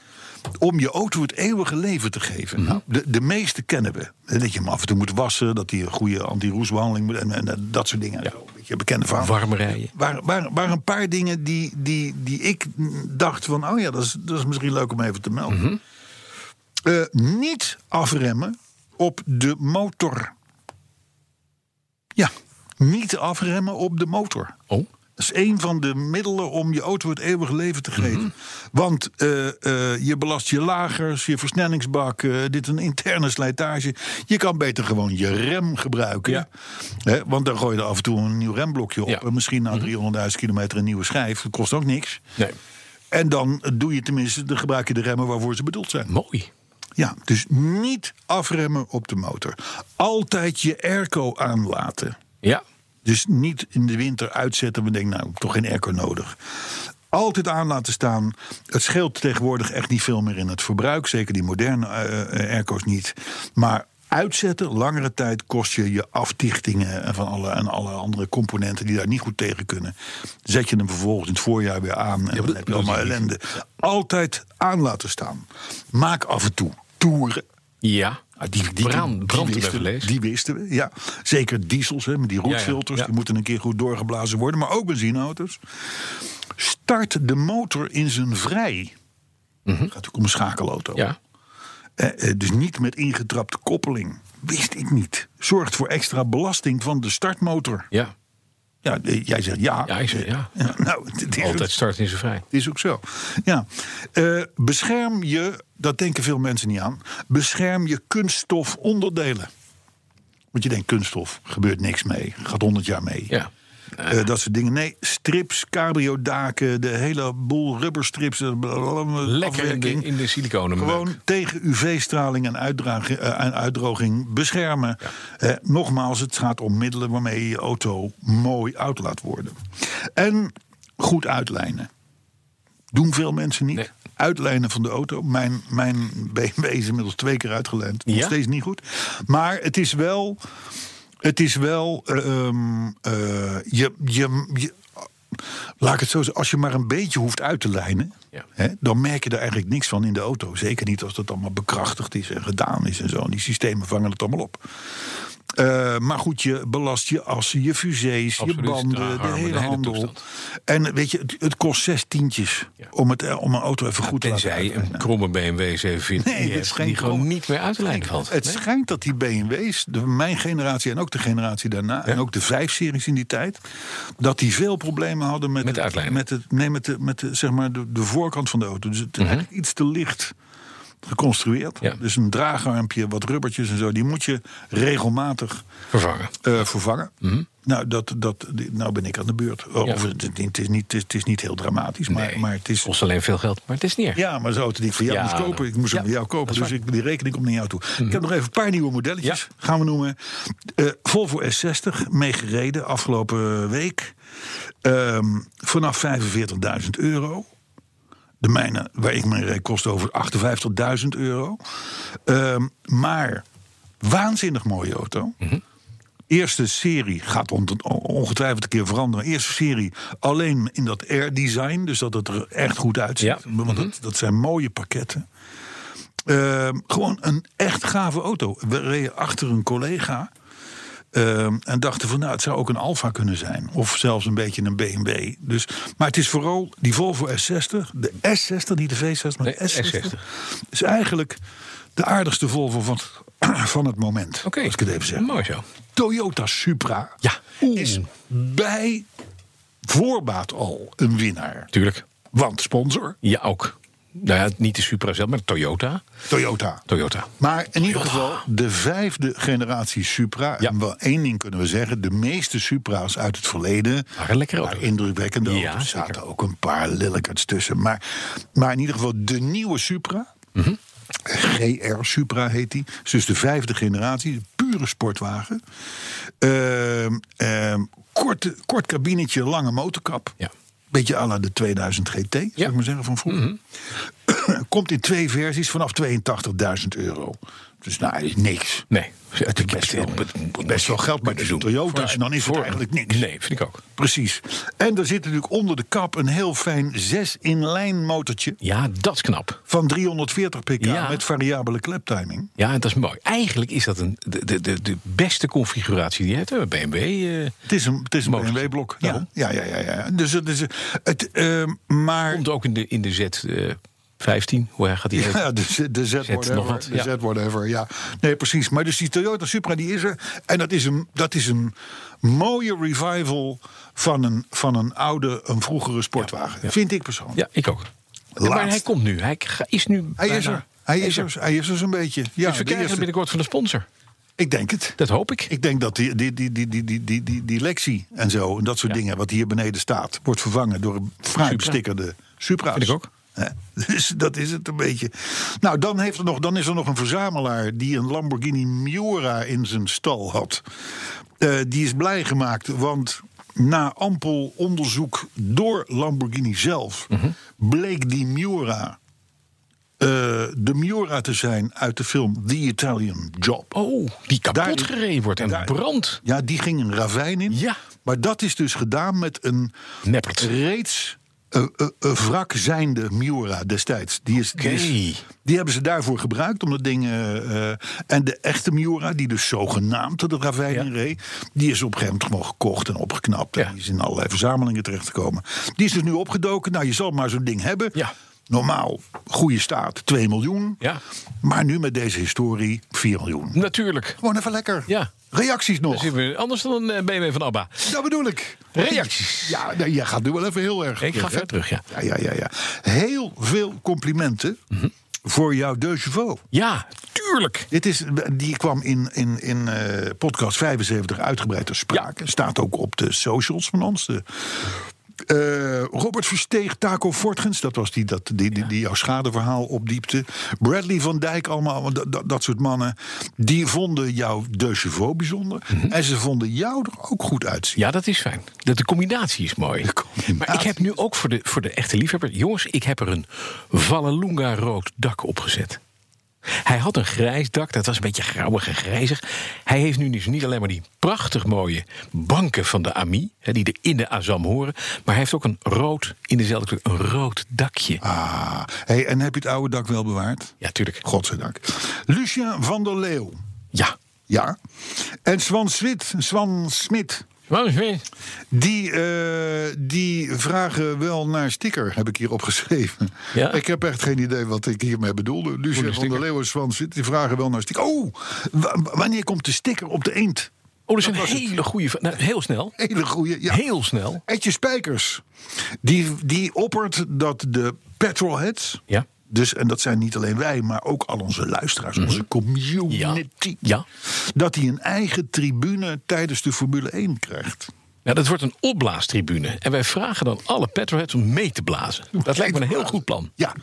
Speaker 3: om je auto het eeuwige leven te geven. Nou, de, de meeste kennen we. Hè, Dat je hem af en toe moet wassen, dat hij een goede anti-roestbehandeling moet en, en, en dat soort dingen. Zo, een beetje bekende verhaal.
Speaker 4: Warm rijden.
Speaker 3: Waar, waar, waar een paar dingen die, die, die ik mm, dacht van, oh ja, dat is, dat is misschien leuk om even te melden. Eh, niet afremmen op de motor. Ja, niet afremmen op de motor.
Speaker 4: Oh,
Speaker 3: Dat is een van de middelen om je auto het eeuwige leven te geven.
Speaker 4: Mhm.
Speaker 3: Want eh, eh, je belast je lagers, je versnellingsbak, eh, dit een interne slijtage. Je kan beter gewoon je rem gebruiken.
Speaker 4: Ja.
Speaker 3: Hè, want dan gooi je er af en toe een nieuw remblokje op.
Speaker 4: Ja. Mhm.
Speaker 3: En misschien na 300.000 kilometer een nieuwe schijf. Dat kost ook niks.
Speaker 4: nee.
Speaker 3: En dan doe je tenminste, dan gebruik je de remmen waarvoor ze bedoeld zijn.
Speaker 4: Mooi.
Speaker 3: Ja, dus niet afremmen op de motor. Altijd je airco aanlaten.
Speaker 4: Ja.
Speaker 3: Dus niet in de winter uitzetten. We denken, nou, ik heb toch geen airco nodig. Altijd aan laten staan. Het scheelt tegenwoordig echt niet veel meer in het verbruik. Zeker die moderne eh, eh, airco's niet. Maar uitzetten, langere tijd, kost je je afdichtingen... En, van alle, en alle andere componenten die daar niet goed tegen kunnen. Zet je hem vervolgens in het voorjaar weer aan. En dan heb je allemaal ellende. Altijd aan laten staan. Maak af en toe toeren.
Speaker 4: Ja.
Speaker 3: Ah, Die, die,
Speaker 4: Brand-
Speaker 3: die
Speaker 4: brand
Speaker 3: wisten,
Speaker 4: hebben we gelezen.
Speaker 3: die wisten we, ja. Zeker diesels, hè, met die roetfilters.
Speaker 4: ja.
Speaker 3: Die moeten een keer goed doorgeblazen worden. Maar ook benzineauto's. Start de motor in zijn vrij. Het gaat ook om een schakelauto.
Speaker 4: Mhm. Ja.
Speaker 3: Eh, eh, dus niet met ingetrapte koppeling. Wist ik niet. Zorgt voor extra belasting van de startmotor.
Speaker 4: Ja.
Speaker 3: Ja, eh, jij zegt ja.
Speaker 4: Ja, ik zeg ja.
Speaker 3: Ja, nou, het- het is ook
Speaker 4: Altijd starten is er vrij.
Speaker 3: is ook zo. Ja. Eh, bescherm je, dat denken veel mensen niet aan, bescherm je kunststof onderdelen. Want je denkt, kunststof, gebeurt niks mee, gaat 100 jaar mee.
Speaker 4: Ja.
Speaker 3: Eh, dat soort dingen. Nee, strips, cabrio-daken, de hele boel rubberstrips, eh, blablabla,
Speaker 4: Lekker in de,
Speaker 3: afwerking.
Speaker 4: in de siliconen.
Speaker 3: Gewoon tegen UV-straling en, uitdraging- eh, en uitdroging beschermen. Eh, nogmaals, het gaat om middelen waarmee je je auto mooi oud laat worden. En goed uitlijnen. Doen veel mensen niet.
Speaker 4: Nee.
Speaker 3: Uitlijnen van de auto. Mijn, mijn BMW is inmiddels twee keer uitgelijnd. Nog
Speaker 4: Ja?
Speaker 3: steeds niet goed. Maar het is wel. Het is wel. eh, ehm, eh, je, je, je, Laat ik het zo zeggen, als je maar een beetje hoeft uit te lijnen,
Speaker 4: Ja.
Speaker 3: hè, dan merk je er eigenlijk niks van in de auto. Zeker niet als dat allemaal bekrachtigd is en gedaan is en zo. En die systemen vangen het allemaal op. Eh, maar goed, je belast je assen, je fusées, je
Speaker 4: Absoluut,
Speaker 3: banden,
Speaker 4: de
Speaker 3: de,
Speaker 4: armen,
Speaker 3: hele
Speaker 4: de hele
Speaker 3: handel.
Speaker 4: toestand.
Speaker 3: En weet je, het, het kost zes tientjes
Speaker 4: Ja.
Speaker 3: om, het, eh, om een auto even goed te laten
Speaker 4: Tenzij
Speaker 3: uitrijden.
Speaker 4: een kromme BMW 740
Speaker 3: Nee, dit
Speaker 4: die,
Speaker 3: is
Speaker 4: heeft,
Speaker 3: geen
Speaker 4: die gewoon
Speaker 3: kromme.
Speaker 4: niet meer uit te lijnen valt.
Speaker 3: Het
Speaker 4: Nee?
Speaker 3: schijnt dat die BMW's, de, mijn generatie en ook de generatie daarna, en ook de 5-series in die tijd, dat die veel problemen hadden met,
Speaker 4: Met de
Speaker 3: het-
Speaker 4: uitlijnen.
Speaker 3: Met, het, nee, met, de, met de, zeg maar de, de voorkant van de auto. Dus het is eigenlijk iets te licht. geconstrueerd.
Speaker 4: Mhm. Ja.
Speaker 3: Dus een draagarmpje, wat rubbertjes en zo. Die moet je regelmatig
Speaker 4: vervangen.
Speaker 3: eh, vervangen. Nou, dat, dat, die- nou ben ik aan de beurt. Oh,
Speaker 4: Mhm. Ja.
Speaker 3: of het, het is niet, het is niet heel dramatisch, maar,
Speaker 4: Nee,
Speaker 3: maar het is...
Speaker 4: kost alleen veel geld, maar het is niet erg.
Speaker 3: Ja, maar zo'n auto die ik van jou
Speaker 4: Ja,
Speaker 3: moest kopen, ik moest hem
Speaker 4: ja,
Speaker 3: van jou kopen.
Speaker 4: dat is Mhm.
Speaker 3: Dus ik, die rekening komt naar jou toe. Ik heb nog even een paar nieuwe modelletjes, gaan we noemen. Eh, Volvo S60, meegereden afgelopen week. Ehm, vanaf 45.000 euro. De mijne, waar ik mijn reed, kost over 58.000 euro. Ehm, maar, waanzinnig mooie auto.
Speaker 4: Mhm.
Speaker 3: Eerste serie gaat on- ongetwijfeld een keer veranderen. Eerste serie alleen in dat air-design. Dus dat het er echt goed uitziet.
Speaker 4: Ja. Mhm.
Speaker 3: Want dat, dat zijn mooie pakketten. Ehm, gewoon een echt gave auto. We reden achter een collega. ehm, en dachten van, nou, het zou ook een Alfa kunnen zijn. Of zelfs een beetje een BMW. Dus, maar het is vooral die Volvo S60. De S60, niet de V60, maar
Speaker 4: Nee,
Speaker 3: de S60.
Speaker 4: S60.
Speaker 3: Is eigenlijk de aardigste Volvo van, van het moment.
Speaker 4: Oké,
Speaker 3: Als ik het even zeg.
Speaker 4: mooi zo.
Speaker 3: Toyota Supra
Speaker 4: Ja.
Speaker 3: is bij voorbaat al een winnaar.
Speaker 4: Tuurlijk.
Speaker 3: Want sponsor,
Speaker 4: Ja, ook. Nou ja, niet de Supra zelf, maar Toyota.
Speaker 3: Toyota.
Speaker 4: Toyota.
Speaker 3: Maar in ieder geval de vijfde generatie Supra.
Speaker 4: Ah. Ja.
Speaker 3: En wel één ding kunnen we zeggen. De meeste Supra's uit het verleden...
Speaker 4: Waren lekker auto's.
Speaker 3: waren indrukwekkende
Speaker 4: Ja,
Speaker 3: auto's. Er
Speaker 4: zeker.
Speaker 3: zaten ook een paar lillekerts tussen. Maar, maar in ieder geval de nieuwe Supra...
Speaker 4: Mhm.
Speaker 3: GR Supra heet die. is Dus de vijfde generatie. een Pure sportwagen. Ehm, ehm, korte, kort kabinetje, lange motorkap.
Speaker 4: Ja.
Speaker 3: Beetje à la de 2000 GT, zou
Speaker 4: Ja. Mhm.
Speaker 3: ik maar zeggen, van vroeger. Komt in twee versies vanaf 82.000 euro. Dus nou, dat is niks.
Speaker 4: Nee.
Speaker 3: Het is best wel, best wel geld, maar
Speaker 4: maar
Speaker 3: het is een Toyota en dan is het eigenlijk niks.
Speaker 4: Nee, vind ik ook.
Speaker 3: Precies. En er zit natuurlijk onder de kap een heel fijn 6-in-lijn motortje...
Speaker 4: Ja, dat is knap.
Speaker 3: van 340 pk
Speaker 4: Ja.
Speaker 3: met variabele kleptiming.
Speaker 4: Ja, dat is mooi. Eigenlijk is dat een, de, de- de, de beste configuratie die je hebt. hè, bij BMW. eh,
Speaker 3: Het is een, het is een
Speaker 4: Motortje.
Speaker 3: BMW-blok.
Speaker 4: Ja.
Speaker 3: Ja. ja, ja, ja. ja. Dus het is... Het, ehm, maar...
Speaker 4: komt ook in de, in de Z15. hoe hij gaat die heten?
Speaker 3: Ja, de, de Z
Speaker 4: nog wat,
Speaker 3: whatever. De
Speaker 4: ja.
Speaker 3: Z whatever, ja. Nee, precies. Maar dus die Toyota Supra die is er. En dat is een, dat is een mooie revival van een, van een oude, een vroegere sportwagen. Vind ik persoonlijk.
Speaker 4: Ja, ik ook. Maar
Speaker 3: Laatst.
Speaker 4: hij komt nu. Hij ga- is nu.
Speaker 3: Hij is
Speaker 4: bijna-
Speaker 3: er. Hij is er. Hij is er zo'n beetje. Ja,
Speaker 4: dus we
Speaker 3: de
Speaker 4: krijgen hem
Speaker 3: eerste-
Speaker 4: binnenkort van de sponsor.
Speaker 3: ik denk het.
Speaker 4: Dat hoop ik.
Speaker 3: Ik denk dat die, die, die, die, die, die, die, die, die Lexi en zo, en dat soort dingen, wat hier beneden staat, wordt vervangen door een fraai
Speaker 4: Supra.
Speaker 3: bestikkerde Supra.
Speaker 4: Vind ik ook.
Speaker 3: Dus dat is het een beetje. Nou, dan, heeft er nog, dan is er nog een verzamelaar die een Lamborghini Miura in zijn stal had. Eh, die is blij gemaakt, want na ampel onderzoek door Lamborghini zelf
Speaker 4: Mhm.
Speaker 3: bleek die Miura eh, de Miura te zijn uit de film The Italian Job.
Speaker 4: Oh, die kapot
Speaker 3: Daar-
Speaker 4: gereden wordt en
Speaker 3: daar-
Speaker 4: brand.
Speaker 3: Ja, die ging een ravijn in.
Speaker 4: Ja.
Speaker 3: Maar dat is dus gedaan met een
Speaker 4: Neppert.
Speaker 3: reeds eh, eh, eh, wrak zijnde Miura destijds. Die, is, die, is-
Speaker 4: Oké.
Speaker 3: die hebben ze daarvoor gebruikt om dat ding... eh, eh, en de echte Miura, die dus zogenaamd de ravijn
Speaker 4: Ja.
Speaker 3: in reed... die is op een gegeven moment gewoon gekocht en opgeknapt.
Speaker 4: Ja.
Speaker 3: En die is in allerlei verzamelingen terechtgekomen. Die is dus nu opgedoken. Nou, je zal maar zo'n ding hebben.
Speaker 4: Ja.
Speaker 3: Normaal, goede staat, 2 miljoen.
Speaker 4: Ja.
Speaker 3: Maar nu met deze historie 4 miljoen.
Speaker 4: Natuurlijk.
Speaker 3: Gewoon even lekker.
Speaker 4: Ja. Dus
Speaker 3: Reacties nog.
Speaker 4: Dan zitten we anders dan een eh, BMW van Abba.
Speaker 3: Dat bedoel ik.
Speaker 4: Reacties.
Speaker 3: Ja, nee, jij gaat nu wel even heel erg.
Speaker 4: Ik ga
Speaker 3: terug, hè?
Speaker 4: ver terug, ja. Mhm.
Speaker 3: Ja, ja, ja, ja. Heel veel complimenten voor jouw deux chevaux.
Speaker 4: Ja, tuurlijk.
Speaker 3: Dit is, die kwam in, in, in eh, podcast 75 uitgebreid ter sprake. Staat ook op de socials van ons. De, eh, Robert Versteeg, Taco Fortgens, dat was die, dat, die, die, die jouw schadeverhaal opdiepte. Bradley van Dijk, allemaal dat, dat, dat soort mannen. Die vonden jouw deux chevaux bijzonder.
Speaker 4: Mhm.
Speaker 3: En ze vonden jou er ook goed uitzien.
Speaker 4: Ja, dat is fijn. Dat de combinatie is mooi.
Speaker 3: combinatie.
Speaker 4: Maar ik heb nu ook voor de, voor de echte liefhebber... Jongens, ik heb er een Vallelunga rood dak opgezet. Hij had een grijs dak, dat was een beetje grauwig en grijzig. Hij heeft nu dus niet alleen maar die prachtig mooie banken van de AMI... Hè, die er in de Azam horen... maar hij heeft ook een rood, in dezelfde kleur, een rood dakje.
Speaker 3: Ah, hey, en heb je het oude dak wel bewaard?
Speaker 4: Ja, tuurlijk.
Speaker 3: Godzijdank. Lucien van der Leeuw.
Speaker 4: Ja.
Speaker 3: Ja. En Swan Smit. Swan Smit.
Speaker 4: Oh,
Speaker 3: Die, eh, die vragen wel naar sticker, heb ik hier opgeschreven.
Speaker 4: Ja?
Speaker 3: Ik heb echt geen idee wat ik hiermee bedoelde. Lucien van
Speaker 4: sticker.
Speaker 3: der Leeuw en Swan Smit, die vragen wel naar sticker. Oh, wa- wanneer komt de sticker op de eend?
Speaker 4: Oh, dat is een hele goede... v- Nou, heel snel.
Speaker 3: Hele goeie. Ja.
Speaker 4: Heel snel.
Speaker 3: Etje Spijkers. Die, die oppert dat de petrolheads...
Speaker 4: Ja. Mhm.
Speaker 3: Dus, en dat zijn niet alleen wij, maar ook al onze luisteraars, onze community.
Speaker 4: Ja.
Speaker 3: Dat hij een eigen tribune tijdens de Formule 1 krijgt.
Speaker 4: Nou, dat wordt een opblaastribune. En wij vragen dan alle petrolheads om mee te blazen. Dat lijkt me een heel goed plan.
Speaker 3: Ja,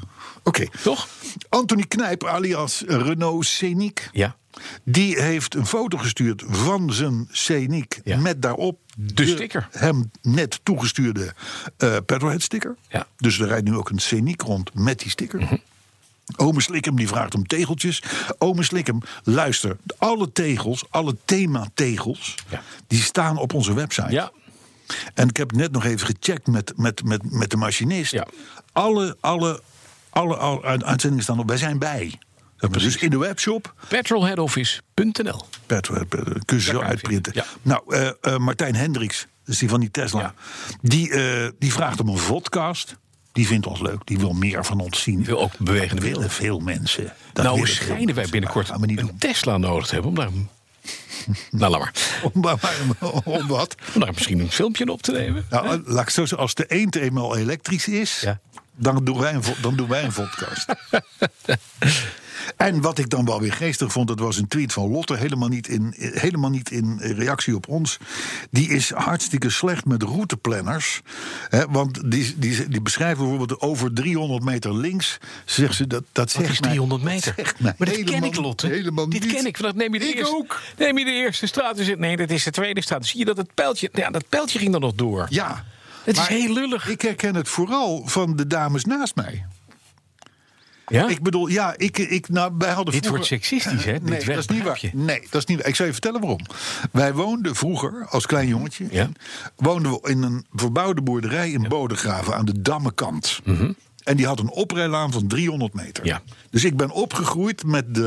Speaker 3: oké.
Speaker 4: Toch?
Speaker 3: Anthony Knijp, alias Renault Scenic.
Speaker 4: Ja.
Speaker 3: Die heeft een foto gestuurd van zijn Scenic.
Speaker 4: Ja.
Speaker 3: Met daarop de,
Speaker 4: sticker.
Speaker 3: Hem net toegestuurde eh Petrolhead sticker.
Speaker 4: Ja. Mhm.
Speaker 3: Dus er rijdt nu ook een Scenic rond met die sticker. Ome Slikkem die vraagt om tegeltjes. Ome Slikkem, luister. Alle tegels, alle themategels,
Speaker 4: Ja.
Speaker 3: die staan op onze website.
Speaker 4: Ja.
Speaker 3: En ik heb net nog even gecheckt met, met, met, met de machinist.
Speaker 4: Ja.
Speaker 3: Alle, alle, alle, alle uit- uitzendingen staan op. Wij zijn bij. Dus in de webshop
Speaker 4: Petrolheadoffice.nl.
Speaker 3: Pet, eh, pet, pet, kun je zo
Speaker 4: kan je
Speaker 3: uitprinten.
Speaker 4: vinden,
Speaker 3: Nou, eh, eh, Martijn Hendricks, dat is die van die Tesla.
Speaker 4: Ja.
Speaker 3: Die, eh, die vraagt om een vodcast. Die vindt ons leuk. Die wil meer van ons zien.
Speaker 4: Wil ook bewegende
Speaker 3: Dat willen
Speaker 4: beelden.
Speaker 3: veel mensen. Dat
Speaker 4: Nou
Speaker 3: willen veel
Speaker 4: schijnen wij
Speaker 3: mensen,
Speaker 4: binnenkort
Speaker 3: maar dat gaan we niet
Speaker 4: een
Speaker 3: doen.
Speaker 4: Tesla nodig te hebben om daar... nou, laat maar.
Speaker 3: Om, maar- om wat?
Speaker 4: Om daar misschien een filmpje in op te nemen.
Speaker 3: Nou, eh, laat ik het zo zeggen, als de eend eenmaal elektrisch is,
Speaker 4: Ja.
Speaker 3: dan, doen wij een, vo- dan doen wij een podcast. en wat ik dan wel weer geestig vond, dat was een tweet van Lotte, helemaal niet in, eh, helemaal niet in eh, reactie op ons. Die is hartstikke slecht met routeplanners. Hè, want die, die, die beschrijven bijvoorbeeld over 300 meter links, zegt ze dat, dat
Speaker 4: Dat
Speaker 3: zegt
Speaker 4: is
Speaker 3: mij-
Speaker 4: 300 meter.
Speaker 3: zegt mij
Speaker 4: Maar dat ken
Speaker 3: helemaal-
Speaker 4: ik, Lotte.
Speaker 3: Helemaal
Speaker 4: Dit
Speaker 3: niet.
Speaker 4: ken ik. want Dat neem je de
Speaker 3: Ik
Speaker 4: eerste,
Speaker 3: ook.
Speaker 4: Neem je de eerste straat. en zegt, Nee, dat is de tweede straat. Zie je dat het pijltje... Ja, dat pijltje ging dan nog door.
Speaker 3: Ja.
Speaker 4: Het is
Speaker 3: Maar
Speaker 4: heel lullig.
Speaker 3: Ik herken het vooral van de dames naast mij.
Speaker 4: Ja?
Speaker 3: Ik bedoel, ja, ik, ik, nou, wij hadden
Speaker 4: Dit wordt seksistisch, hè? Dit
Speaker 3: nee, dat is niet waar.
Speaker 4: wegwerpje.
Speaker 3: Nee, dat is niet waar. Ik zal je vertellen waarom. Wij woonden vroeger, als klein jongetje...
Speaker 4: Ja.
Speaker 3: woonden we in een verbouwde boerderij in Bodegraven aan de Dammenkant. En die had een oprijlaan van 300 meter.
Speaker 4: Mhm. Ja.
Speaker 3: Dus ik ben opgegroeid met de,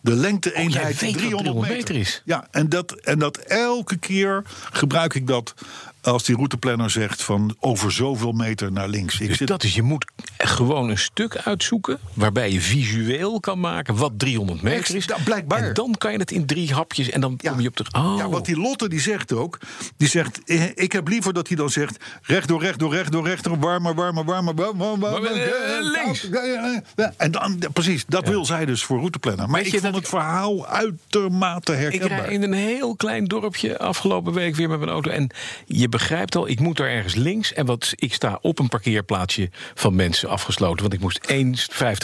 Speaker 3: de
Speaker 4: Oh, jij
Speaker 3: lengte-eenheid
Speaker 4: weet wat
Speaker 3: 300
Speaker 4: 300
Speaker 3: meter.
Speaker 4: meter is.
Speaker 3: Ja, en dat, en dat elke keer gebruik ik dat... als die routeplanner zegt van over zoveel meter naar links. Ik
Speaker 4: Dus dat is, je moet gewoon een stuk uitzoeken... waarbij je visueel kan maken wat 300 meter is.
Speaker 3: Ex- nou, blijkbaar.
Speaker 4: En dan kan je het in drie hapjes en dan kom je op de... Oh,
Speaker 3: Ja, want die Lotte die zegt ook, die zegt, eh, ik heb liever dat hij dan zegt, rechtdoor, rechtdoor, rechtdoor, rechtdoor, warmer, warmer, warmer, warmer, warmer,
Speaker 4: Maar, eh,
Speaker 3: eh,
Speaker 4: links.
Speaker 3: eh, eh, eh. En dan, ja, precies, dat wil zij dus voor routeplanner. Maar
Speaker 4: Weet
Speaker 3: ik
Speaker 4: je
Speaker 3: vond
Speaker 4: dat
Speaker 3: het verhaal uitermate
Speaker 4: Ik rijd
Speaker 3: herkenbaar.
Speaker 4: in een heel klein dorpje afgelopen week weer met mijn auto. En je begrijpt al, ik moet daar ergens links. En wat, ik sta op een parkeerplaatsje van mensen afgesloten. Want ik moest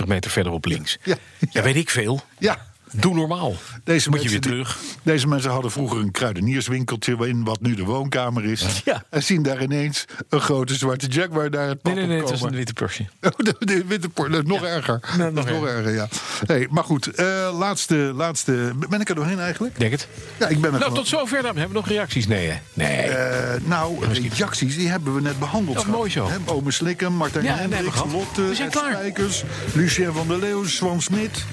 Speaker 4: 1,50 meter verderop links.
Speaker 3: Ja,
Speaker 4: ja. weet ik veel.
Speaker 3: Ja.
Speaker 4: Doe normaal.
Speaker 3: Deze
Speaker 4: moet je
Speaker 3: mensen die-
Speaker 4: weer terug.
Speaker 3: Deze mensen hadden vroeger een kruidenierswinkeltje in wat nu de woonkamer is.
Speaker 4: Ja.
Speaker 3: En zien daar ineens een grote zwarte jaguar daar het pad
Speaker 4: Nee, nee,
Speaker 3: op
Speaker 4: nee, het was
Speaker 3: komen.
Speaker 4: een witte Porsche.
Speaker 3: Oh, de, de witte por- dat is nog erger. dat is nog erger, ja. Hey, maar goed, eh, laatste, laatste. Ben ik er doorheen eigenlijk?
Speaker 4: Ik Denk het.
Speaker 3: Ja, ik ben er
Speaker 4: Nou,
Speaker 3: gewoon-
Speaker 4: tot zover dan. Hebben we nog reacties? Nee, hè? Nee.
Speaker 3: Eh, nou, reacties, die hebben we net behandeld.
Speaker 4: Ja,
Speaker 3: schat.
Speaker 4: mooi zo.
Speaker 3: Hè, Ome Slikken, Martijn
Speaker 4: Ja, en
Speaker 3: Hendricks,
Speaker 4: hebben we gehad.
Speaker 3: Lotte,
Speaker 4: We zijn
Speaker 3: Ed
Speaker 4: klaar.
Speaker 3: Spijkers, Lucien van der Leeuw, Swan Smit.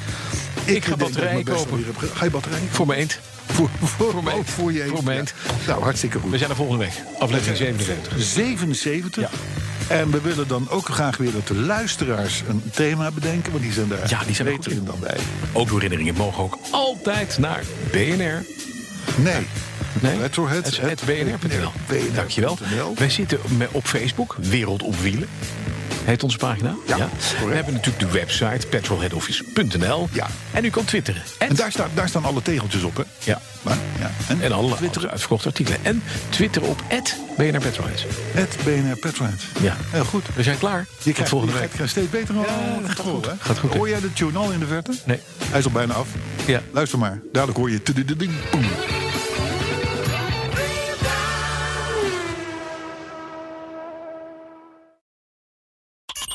Speaker 4: ga batterijen kopen.
Speaker 3: Ga je batterij
Speaker 4: Voor me eend.
Speaker 3: Voor, voor,
Speaker 4: mij.
Speaker 3: oh, voor je
Speaker 4: Voor
Speaker 3: eens.
Speaker 4: mij.
Speaker 3: Ja. Nou, hartstikke
Speaker 4: We
Speaker 3: goed.
Speaker 4: zijn er volgende week. Aflevering 77.
Speaker 3: 77. En we willen dan ook graag weer dat de luisteraars een thema bedenken. Want die zijn daar
Speaker 4: Ja, die zijn er
Speaker 3: beter
Speaker 4: goed
Speaker 3: in dan wij.
Speaker 4: Autoherinneringen mogen ook altijd naar BNR.
Speaker 3: Nee.
Speaker 4: Nee?
Speaker 3: Retroheads.
Speaker 4: Het- het BNR.nl.
Speaker 3: BNR.nl.
Speaker 4: Dankjewel. Wij zitten me- op Facebook, Wereld op Wielen. Heet onze pagina?
Speaker 3: Ja,
Speaker 4: We
Speaker 3: correct.
Speaker 4: hebben natuurlijk de website petrolheadoffice.nl.
Speaker 3: Ja.
Speaker 4: En u kan twitteren.
Speaker 3: En daar staan, daar staan alle tegeltjes op, hè?
Speaker 4: Ja.
Speaker 3: Maar, ja. En,
Speaker 4: En alle
Speaker 3: Twitter,
Speaker 4: andere uitverkochte artikelen. En twitter op BNR Petrolheads.
Speaker 3: het BNR Petrohead.
Speaker 4: Ja.
Speaker 3: Heel goed.
Speaker 4: We zijn klaar.
Speaker 3: Je
Speaker 4: Tot
Speaker 3: krijgt,
Speaker 4: volgende
Speaker 3: je
Speaker 4: week.
Speaker 3: krijgt steeds beter al al gaat goed, hè?
Speaker 4: Gaat goed, hè?
Speaker 3: Hoor jij de tune al in de verte?
Speaker 4: Nee.
Speaker 3: Hij is al bijna af.
Speaker 4: Ja.
Speaker 3: Luister maar. Dadelijk hoor je... tudududing, boem.